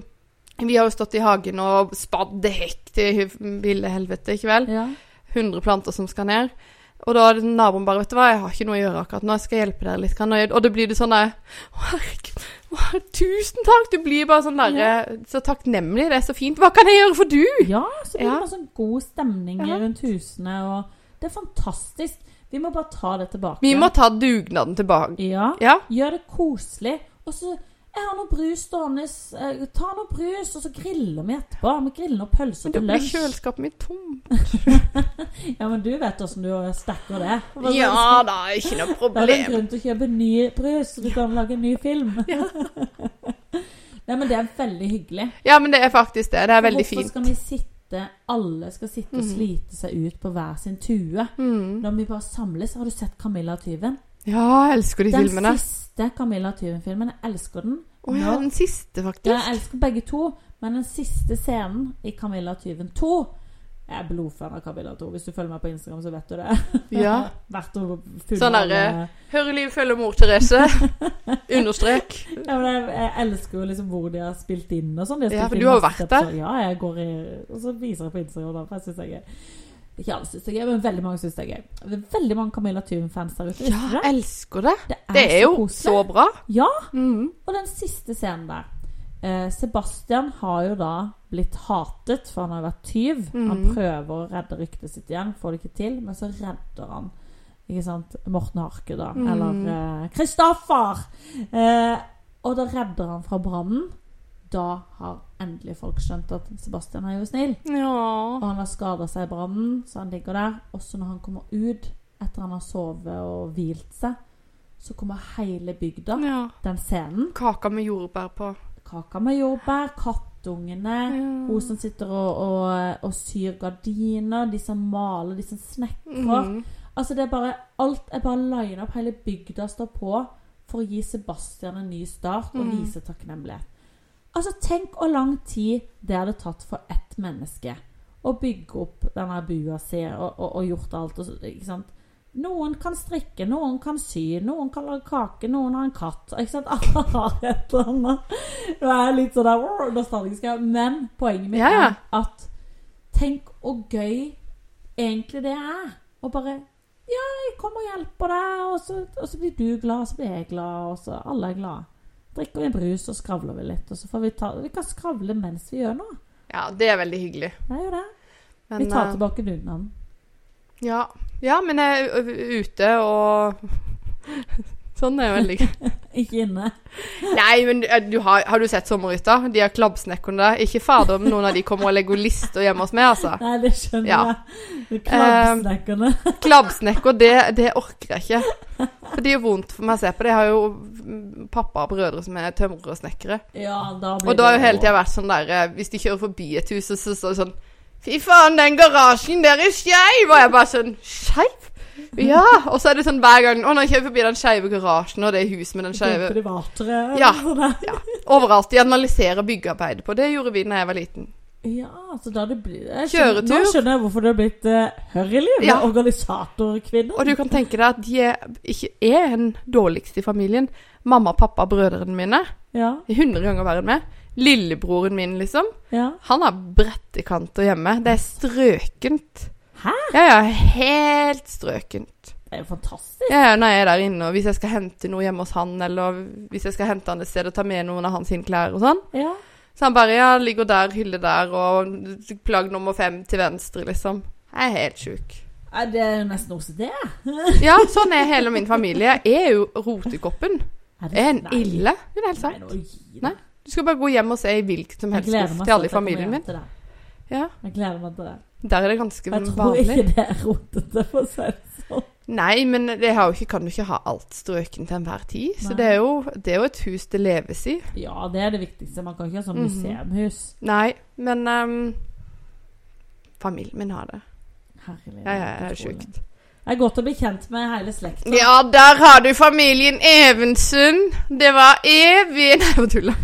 [SPEAKER 1] Vi har jo stått i hagen og spadd hekk til hu- ville helvete, ikke vel?
[SPEAKER 2] Ja.
[SPEAKER 1] 100 planter som skal ned. Og da er det naboen bare 'Vet du hva, jeg har ikke noe å gjøre akkurat nå, jeg skal hjelpe dere litt.' grann.» Og da blir det sånn der «Å, herregud, å, herregud, Tusen takk! Du blir bare sånn derre Så takknemlig, det er så fint. Hva kan jeg gjøre for du?
[SPEAKER 2] Ja, så blir det
[SPEAKER 1] Ja.
[SPEAKER 2] bare sånn god stemning
[SPEAKER 1] Ja.
[SPEAKER 2] rundt husene, og det er fantastisk. Vi må bare ta det tilbake.
[SPEAKER 1] Vi må ta dugnaden tilbake.
[SPEAKER 2] Ja,
[SPEAKER 1] Ja.
[SPEAKER 2] gjør det koselig. Og så, jeg har noe brus stående, s- eh, ta noe brus, og så griller vi etterpå. Vi griller noen pølser
[SPEAKER 1] Men da
[SPEAKER 2] til
[SPEAKER 1] blir
[SPEAKER 2] lunsj.
[SPEAKER 1] kjøleskapet mitt tomt.
[SPEAKER 2] Ja, men du vet hvordan du stacker det.
[SPEAKER 1] Ja da, ikke noe
[SPEAKER 2] Da er det en
[SPEAKER 1] problem.
[SPEAKER 2] grunn til å kjøpe ny brus, så du kan lage en ny film. Nei, men det er veldig hyggelig.
[SPEAKER 1] Ja, men det er faktisk det. Det er veldig
[SPEAKER 2] Hvorfor
[SPEAKER 1] fint.
[SPEAKER 2] skal vi sitte, alle skal sitte og slite seg ut på hver sin tue?
[SPEAKER 1] Mm.
[SPEAKER 2] Når vi bare samles, har du sett Camilla og tyven?
[SPEAKER 1] Ja, jeg elsker de
[SPEAKER 2] Den
[SPEAKER 1] filmene.
[SPEAKER 2] siste Camilla og tyven-filmen. Jeg elsker den.
[SPEAKER 1] Å ja,
[SPEAKER 2] Nå-
[SPEAKER 1] den siste,
[SPEAKER 2] Ja,
[SPEAKER 1] faktisk.
[SPEAKER 2] jeg elsker begge to, men den siste scenen i Camilla og tyven 2 Jeg er blodfan av Camilla 2. Hvis du følger meg på Instagram, så vet du det.
[SPEAKER 1] Ja.
[SPEAKER 2] Hvert år full
[SPEAKER 1] Sånn
[SPEAKER 2] av- eh,
[SPEAKER 1] derre- Hører liv følger mor Therese. Understrek.
[SPEAKER 2] ja, men jeg, jeg elsker jo liksom hvor de har spilt inn og sånn. De
[SPEAKER 1] Ja,
[SPEAKER 2] spilt
[SPEAKER 1] for
[SPEAKER 2] inn
[SPEAKER 1] du har jo
[SPEAKER 2] masse
[SPEAKER 1] vært der.
[SPEAKER 2] episoder. Ja, jeg går i Og så viser jeg på Instagram, da, for jeg syns det er gøy. Ikke alle syns det er gøy, men veldig mange syns det er gøy. Det er veldig mange Camilla Tyven-fans der ute.
[SPEAKER 1] Ja,
[SPEAKER 2] visste du det?
[SPEAKER 1] jeg elsker det.
[SPEAKER 2] det
[SPEAKER 1] Det er jo
[SPEAKER 2] koselig.
[SPEAKER 1] så bra.
[SPEAKER 2] Ja,
[SPEAKER 1] Mhm.
[SPEAKER 2] Og den siste scenen der eh, Sebastian har jo da blitt hatet, for han har jo vært tyv. Han
[SPEAKER 1] Mhm.
[SPEAKER 2] prøver å redde ryktet sitt igjen, får det ikke til, men så redder han ikke sant, Morten Harke, da.
[SPEAKER 1] Mhm.
[SPEAKER 2] Eller eh, Kristoffer! Eh, og da redder han fra brannen. Da har endelig folk skjønt at Sebastian er jo snill. Og
[SPEAKER 1] Ja.
[SPEAKER 2] han har skada seg i brannen, så han ligger der. Og så når han kommer ut, etter han har sovet og hvilt seg, så kommer hele bygda,
[SPEAKER 1] ja.
[SPEAKER 2] den scenen,
[SPEAKER 1] Kaka med jordbær på.
[SPEAKER 2] kaka med jordbær,
[SPEAKER 1] Mm.
[SPEAKER 2] kattungene, hun som sitter og, og, og syr gardiner, de som maler, de som snekrer.
[SPEAKER 1] Mhm.
[SPEAKER 2] Altså det er bare, Alt er bare line opp. Hele bygda står på for å gi Sebastian en ny start og
[SPEAKER 1] Mm.
[SPEAKER 2] vise takknemlighet. Altså Tenk hvor lang tid det hadde tatt for ett menneske å bygge opp denne bua si og, og, og gjort alt. Og, så- ikke sant? Noen kan strikke, noen kan sy, noen kan lage kake, noen har en katt. Ikke sant? Alle har et eller annet. Nå er jeg litt sånn der, «Åh, nostalgisk. her», Men poenget mitt
[SPEAKER 1] Ja, ja.
[SPEAKER 2] er at tenk hvor gøy egentlig det er. Og bare Ja, jeg kommer og hjelper deg, og så, og så blir du glad, og så blir jeg glad, og så alle er glade. Drikker vi en brus og skravler vi litt, og så får vi ta Vi kan skravle mens vi gjør noe.
[SPEAKER 1] Ja, det er veldig hyggelig.
[SPEAKER 2] Det er jo det.
[SPEAKER 1] Men,
[SPEAKER 2] Vi tar
[SPEAKER 1] eh,
[SPEAKER 2] tilbake dugnaden.
[SPEAKER 1] Ja. ja, men jeg er ø- ø- ute og Sånn er jo veldig gøy.
[SPEAKER 2] Ikke inne.
[SPEAKER 1] Nei, men eh, du har, har du sett sommerhytta? De har klabbsnekkerne der. Ikke fader om noen av de kommer og legger lister hjemme hos meg, altså.
[SPEAKER 2] Nei, det skjønner
[SPEAKER 1] Ja.
[SPEAKER 2] jeg. Det er Klabbsnekkerne.
[SPEAKER 1] Klabbsnekker, det, det orker jeg ikke. For det gjør vondt for meg å se på. det. Jeg har jo mm, pappa og brødre som er tømrere og snekkere.
[SPEAKER 2] Ja, da blir
[SPEAKER 1] Og da har jo hele tida vært sånn der eh, Hvis de kjører forbi et hus, så står det sånn Fy faen, den garasjen der er skeiv! Og jeg bare sånn Skeiv? Ja! Og så er det sånn hver gang Å, nå kjører jeg forbi den skeive garasjen og det huset med den skeive
[SPEAKER 2] Privatere.
[SPEAKER 1] Ja.
[SPEAKER 2] Sånn der.
[SPEAKER 1] Ja. Overalt. De analyserer byggearbeidet på. Det gjorde vi da jeg var liten.
[SPEAKER 2] Ja, så da det blir jeg
[SPEAKER 1] Kjøretur.
[SPEAKER 2] skjønner, Nå skjønner jeg hvorfor du har blitt uh, hørreliv
[SPEAKER 1] Ja.
[SPEAKER 2] ja. organisatorkvinne.
[SPEAKER 1] Og du kan tenke deg at de er, ikke er den dårligste i familien. Mamma, pappa, brødrene mine.
[SPEAKER 2] Ja,
[SPEAKER 1] er 100 ganger verre enn meg. Lillebroren min, liksom.
[SPEAKER 2] ja.
[SPEAKER 1] Han har brettekanter hjemme. Det er strøkent.
[SPEAKER 2] Hæ?
[SPEAKER 1] Ja, ja. Helt strøkent.
[SPEAKER 2] Det er jo fantastisk.
[SPEAKER 1] Ja, ja, når jeg er der inne, og hvis jeg skal hente noe hjemme hos han, eller hvis jeg skal hente han et sted og ta med noen av hans sine klær og sånn,
[SPEAKER 2] Ja.
[SPEAKER 1] så han bare ja, ligger der, hylle der, og plagg nummer fem til venstre, liksom. Jeg er helt sjuk.
[SPEAKER 2] Nei, Det er jo nesten OCD. Er
[SPEAKER 1] Ja, sånn er hele min familie. Jeg er jo rotekoppen.
[SPEAKER 2] det-
[SPEAKER 1] Jeg er en
[SPEAKER 2] Nei.
[SPEAKER 1] ille. Det er helt
[SPEAKER 2] Nei,
[SPEAKER 1] sant.
[SPEAKER 2] nå gi deg.
[SPEAKER 1] Nei, Du skal bare gå hjem og se i hvilken som
[SPEAKER 2] Jeg
[SPEAKER 1] helst
[SPEAKER 2] gleder
[SPEAKER 1] skuff
[SPEAKER 2] meg
[SPEAKER 1] til alle i
[SPEAKER 2] til at jeg
[SPEAKER 1] familien
[SPEAKER 2] kommer
[SPEAKER 1] min.
[SPEAKER 2] hjem til det.
[SPEAKER 1] Ja,
[SPEAKER 2] Jeg gleder meg til det.
[SPEAKER 1] Der er det ganske
[SPEAKER 2] Jeg tror
[SPEAKER 1] vanlig.
[SPEAKER 2] ikke det er rotete, for å si det sånn.
[SPEAKER 1] Nei, men det har jo ikke, kan du ikke ha alt strøken til enhver tid. Så
[SPEAKER 2] Nei.
[SPEAKER 1] det er, jo, det er jo et hus det leves i.
[SPEAKER 2] sånn. Ja, det er det viktigste. Man kan ikke ha
[SPEAKER 1] Mhm.
[SPEAKER 2] sånn museumhus.
[SPEAKER 1] Nei, men ehm, Familien min har det.
[SPEAKER 2] Herlig.
[SPEAKER 1] Ja, ja, det er
[SPEAKER 2] utrolig.
[SPEAKER 1] sjukt.
[SPEAKER 2] Det er godt å bli kjent med hele slekta.
[SPEAKER 1] Ja, der har du familien Evensen. Det var evig Nei, jeg tulla.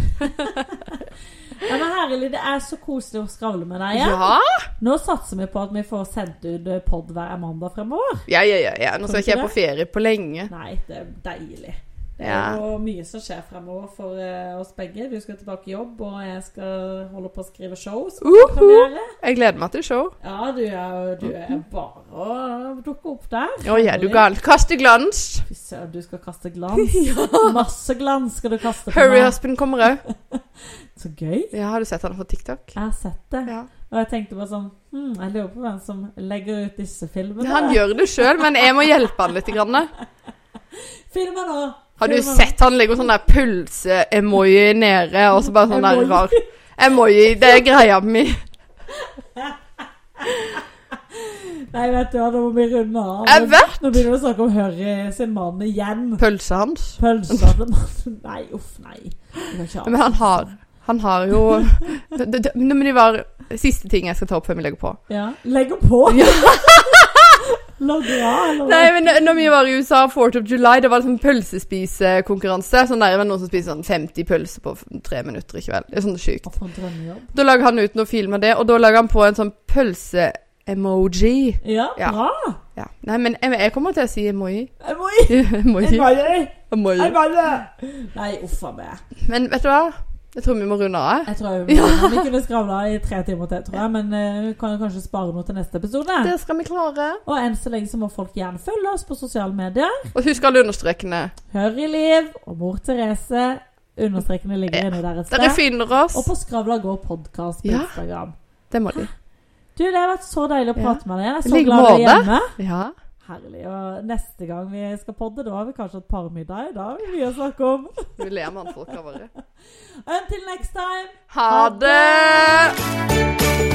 [SPEAKER 2] Ja, men herlig, det er så koselig å skravle med deg. Ja.
[SPEAKER 1] Ah, Ja,
[SPEAKER 2] Nå satser vi på at vi får sendt ut pod hver mandag fremover.
[SPEAKER 1] ja, ja. ja, ja. Nå
[SPEAKER 2] Kan du
[SPEAKER 1] skal ikke jeg
[SPEAKER 2] ikke
[SPEAKER 1] på ferie på lenge.
[SPEAKER 2] Nei, det er deilig. Det
[SPEAKER 1] Ja.
[SPEAKER 2] er jo mye som skjer fremover for eh, oss begge. Du skal tilbake i jobb, og jeg skal holde på å skrive show. som skal
[SPEAKER 1] Uhu.
[SPEAKER 2] premiere.
[SPEAKER 1] Jeg gleder meg til show.
[SPEAKER 2] Ja, du er, du er bare å dukke opp der.
[SPEAKER 1] Å, ja, du gal. Kaste glans.
[SPEAKER 2] Fy søren, du skal kaste glans. Masse glans skal du kaste på
[SPEAKER 1] Hurry
[SPEAKER 2] meg.
[SPEAKER 1] Husband kommer òg.
[SPEAKER 2] Så gøy.
[SPEAKER 1] Ja, har du sett han på TikTok?
[SPEAKER 2] Jeg har sett det.
[SPEAKER 1] Ja.
[SPEAKER 2] Og jeg tenkte bare sånn hm, Jeg lurer på hvem som legger ut disse filmene.
[SPEAKER 1] Han gjør det sjøl, men jeg må hjelpe han litt. Grann.
[SPEAKER 2] Filmer nå!
[SPEAKER 1] Har du
[SPEAKER 2] Filmer nå.
[SPEAKER 1] sett han legger sånn der pølse-emoji nede, og så bare sånn der
[SPEAKER 2] Emoji.
[SPEAKER 1] rar Emoji, det er greia mi.
[SPEAKER 2] Nei, vet du hva, nå må vi runde av.
[SPEAKER 1] Jeg vet!
[SPEAKER 2] Nå begynner du å snakke om Harry sin mann igjen.
[SPEAKER 1] Pølsa hans.
[SPEAKER 2] Pølsa til mannen Nei, uff, nei. Du kan ikke ha-
[SPEAKER 1] Men han har Han har jo det, det, det, Men det var siste ting jeg skal ta opp før vi legger på.
[SPEAKER 2] Ja. Legger på! Logger av, eller
[SPEAKER 1] Nei, men når vi var i USA, 4th of July, det var liksom pølsespisekonkurranse. Sånn der, det var noen som spiser sånn 50 pølser på f- tre minutter i kveld. Det er sånn sjukt.
[SPEAKER 2] Å, for en drømmejobb.
[SPEAKER 1] Da lager han ut noen film av det, og da lager han på en sånn pølse-emoji.
[SPEAKER 2] Ja,
[SPEAKER 1] Ja.
[SPEAKER 2] bra!
[SPEAKER 1] Ja. Nei, men jeg, jeg kommer til å si emoji.
[SPEAKER 2] Jeg må i- Jeg
[SPEAKER 1] emoji.
[SPEAKER 2] må i-
[SPEAKER 1] emoji.
[SPEAKER 2] Jeg må i- Nei, uff a meg.
[SPEAKER 1] Men vet du hva? Jeg tror vi må runde av.
[SPEAKER 2] Jeg tror vi, vi kunne skravla i tre timer til, tror jeg. Men eh, vi kan jo kanskje spare noe til neste episode.
[SPEAKER 1] Det skal vi klare.
[SPEAKER 2] Og enn så lenge så må folk gjerne følge oss på sosiale medier.
[SPEAKER 1] Og husk alle understrekene.
[SPEAKER 2] Hør i liv og Mor Therese. Understrekene ligger inne der et
[SPEAKER 1] Dere
[SPEAKER 2] sted.
[SPEAKER 1] finner oss.
[SPEAKER 2] Og på Skravla går podkast på
[SPEAKER 1] Ja.
[SPEAKER 2] Instagram.
[SPEAKER 1] Det må de.
[SPEAKER 2] Du, det har vært så deilig å
[SPEAKER 1] Ja.
[SPEAKER 2] prate med deg igjen. Jeg er
[SPEAKER 1] I
[SPEAKER 2] så
[SPEAKER 1] like
[SPEAKER 2] glad du er
[SPEAKER 1] måte.
[SPEAKER 2] hjemme.
[SPEAKER 1] Ja.
[SPEAKER 2] Herlig. Og neste gang vi skal podde, da har vi kanskje et par middager. Da har vi mye å snakke om.
[SPEAKER 1] Vi ler med mannfolka våre.
[SPEAKER 2] Until next time.
[SPEAKER 1] Ha det!